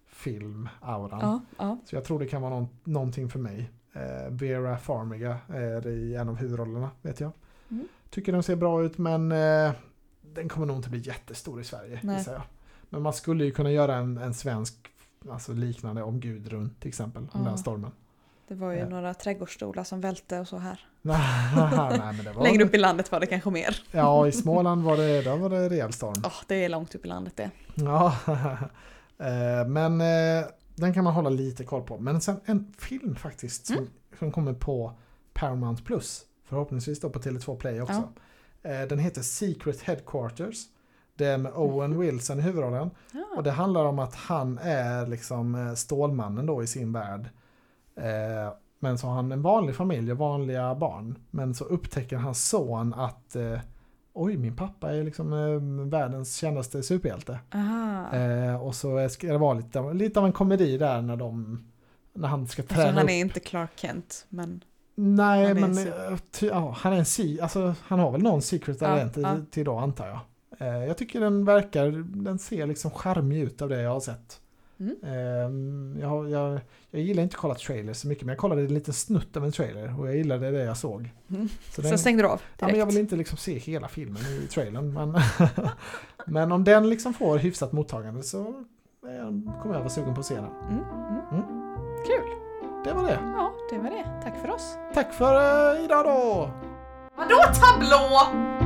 [SPEAKER 1] katastroffilm-auran.
[SPEAKER 2] Ja, ja.
[SPEAKER 1] Så jag tror det kan vara någon, någonting för mig. Eh, Vera Farmiga är i en av huvudrollerna, vet jag.
[SPEAKER 2] Mm.
[SPEAKER 1] Tycker den ser bra ut, men eh, den kommer nog inte bli jättestor i Sverige,
[SPEAKER 2] Nej.
[SPEAKER 1] gissar jag. Men man skulle ju kunna göra en, en svensk, alltså liknande om Gudrun till exempel, om
[SPEAKER 2] Ja.
[SPEAKER 1] den stormen. <laughs>
[SPEAKER 2] Det var ju
[SPEAKER 1] Ja.
[SPEAKER 2] några trädgårdsstolar som välte och så här.
[SPEAKER 1] Nej, men det var...
[SPEAKER 2] Längre upp i landet var det kanske mer.
[SPEAKER 1] Ja, i Småland var det, där var det rejäl storm.
[SPEAKER 2] Ja, det är långt upp i landet det.
[SPEAKER 1] Ja, <laughs> Eh, men eh, den kan man hålla lite koll på. Men sen en film faktiskt som, som kommer på Paramount Plus. Förhoppningsvis då på Tele2 Play också. Eh, Den heter Secret Headquarters. Det är med Owen Wilson i huvudrollen. Och
[SPEAKER 2] Ja.
[SPEAKER 1] det handlar om att han är liksom eh, Stålmannen då i sin värld. Eh, Men så har han en vanlig familj och vanliga barn. Men så upptäcker hans son att eh, oj, min pappa är liksom eh, världens kändaste superhjälte.
[SPEAKER 2] Aha.
[SPEAKER 1] Eh, och så är- ska det vara lite, av- lite av en komedi där när de när han ska träna
[SPEAKER 2] Alltså, han
[SPEAKER 1] upp.
[SPEAKER 2] är inte Clark Kent, men
[SPEAKER 1] Nej,
[SPEAKER 2] han är en
[SPEAKER 1] men
[SPEAKER 2] super-
[SPEAKER 1] eh, ty, ja, han är en si, alltså, han har väl någon secret
[SPEAKER 2] Ja,
[SPEAKER 1] talent i-
[SPEAKER 2] ja.
[SPEAKER 1] till då antar jag. Eh, jag tycker den verkar, den ser liksom charmig ut av det jag har sett.
[SPEAKER 2] Mm.
[SPEAKER 1] Eh, jag, har- jag, jag gillar inte att kolla trailers så mycket men jag kollade en liten snutt av en trailer och jag gillade det jag såg.
[SPEAKER 2] Mm.
[SPEAKER 1] Så
[SPEAKER 2] sen stängde du av
[SPEAKER 1] Ja, men jag
[SPEAKER 2] direkt.
[SPEAKER 1] vill inte liksom se hela filmen i trailern. Men, <laughs> men om den liksom får hyfsat mottagande så eh, kommer jag vara sugen på att se den.
[SPEAKER 2] Mm, mm.
[SPEAKER 1] Mm.
[SPEAKER 2] Kul!
[SPEAKER 1] Det var det.
[SPEAKER 2] Ja, det var det. Tack för oss.
[SPEAKER 1] Tack för eh, idag då!
[SPEAKER 2] Vadå tablå?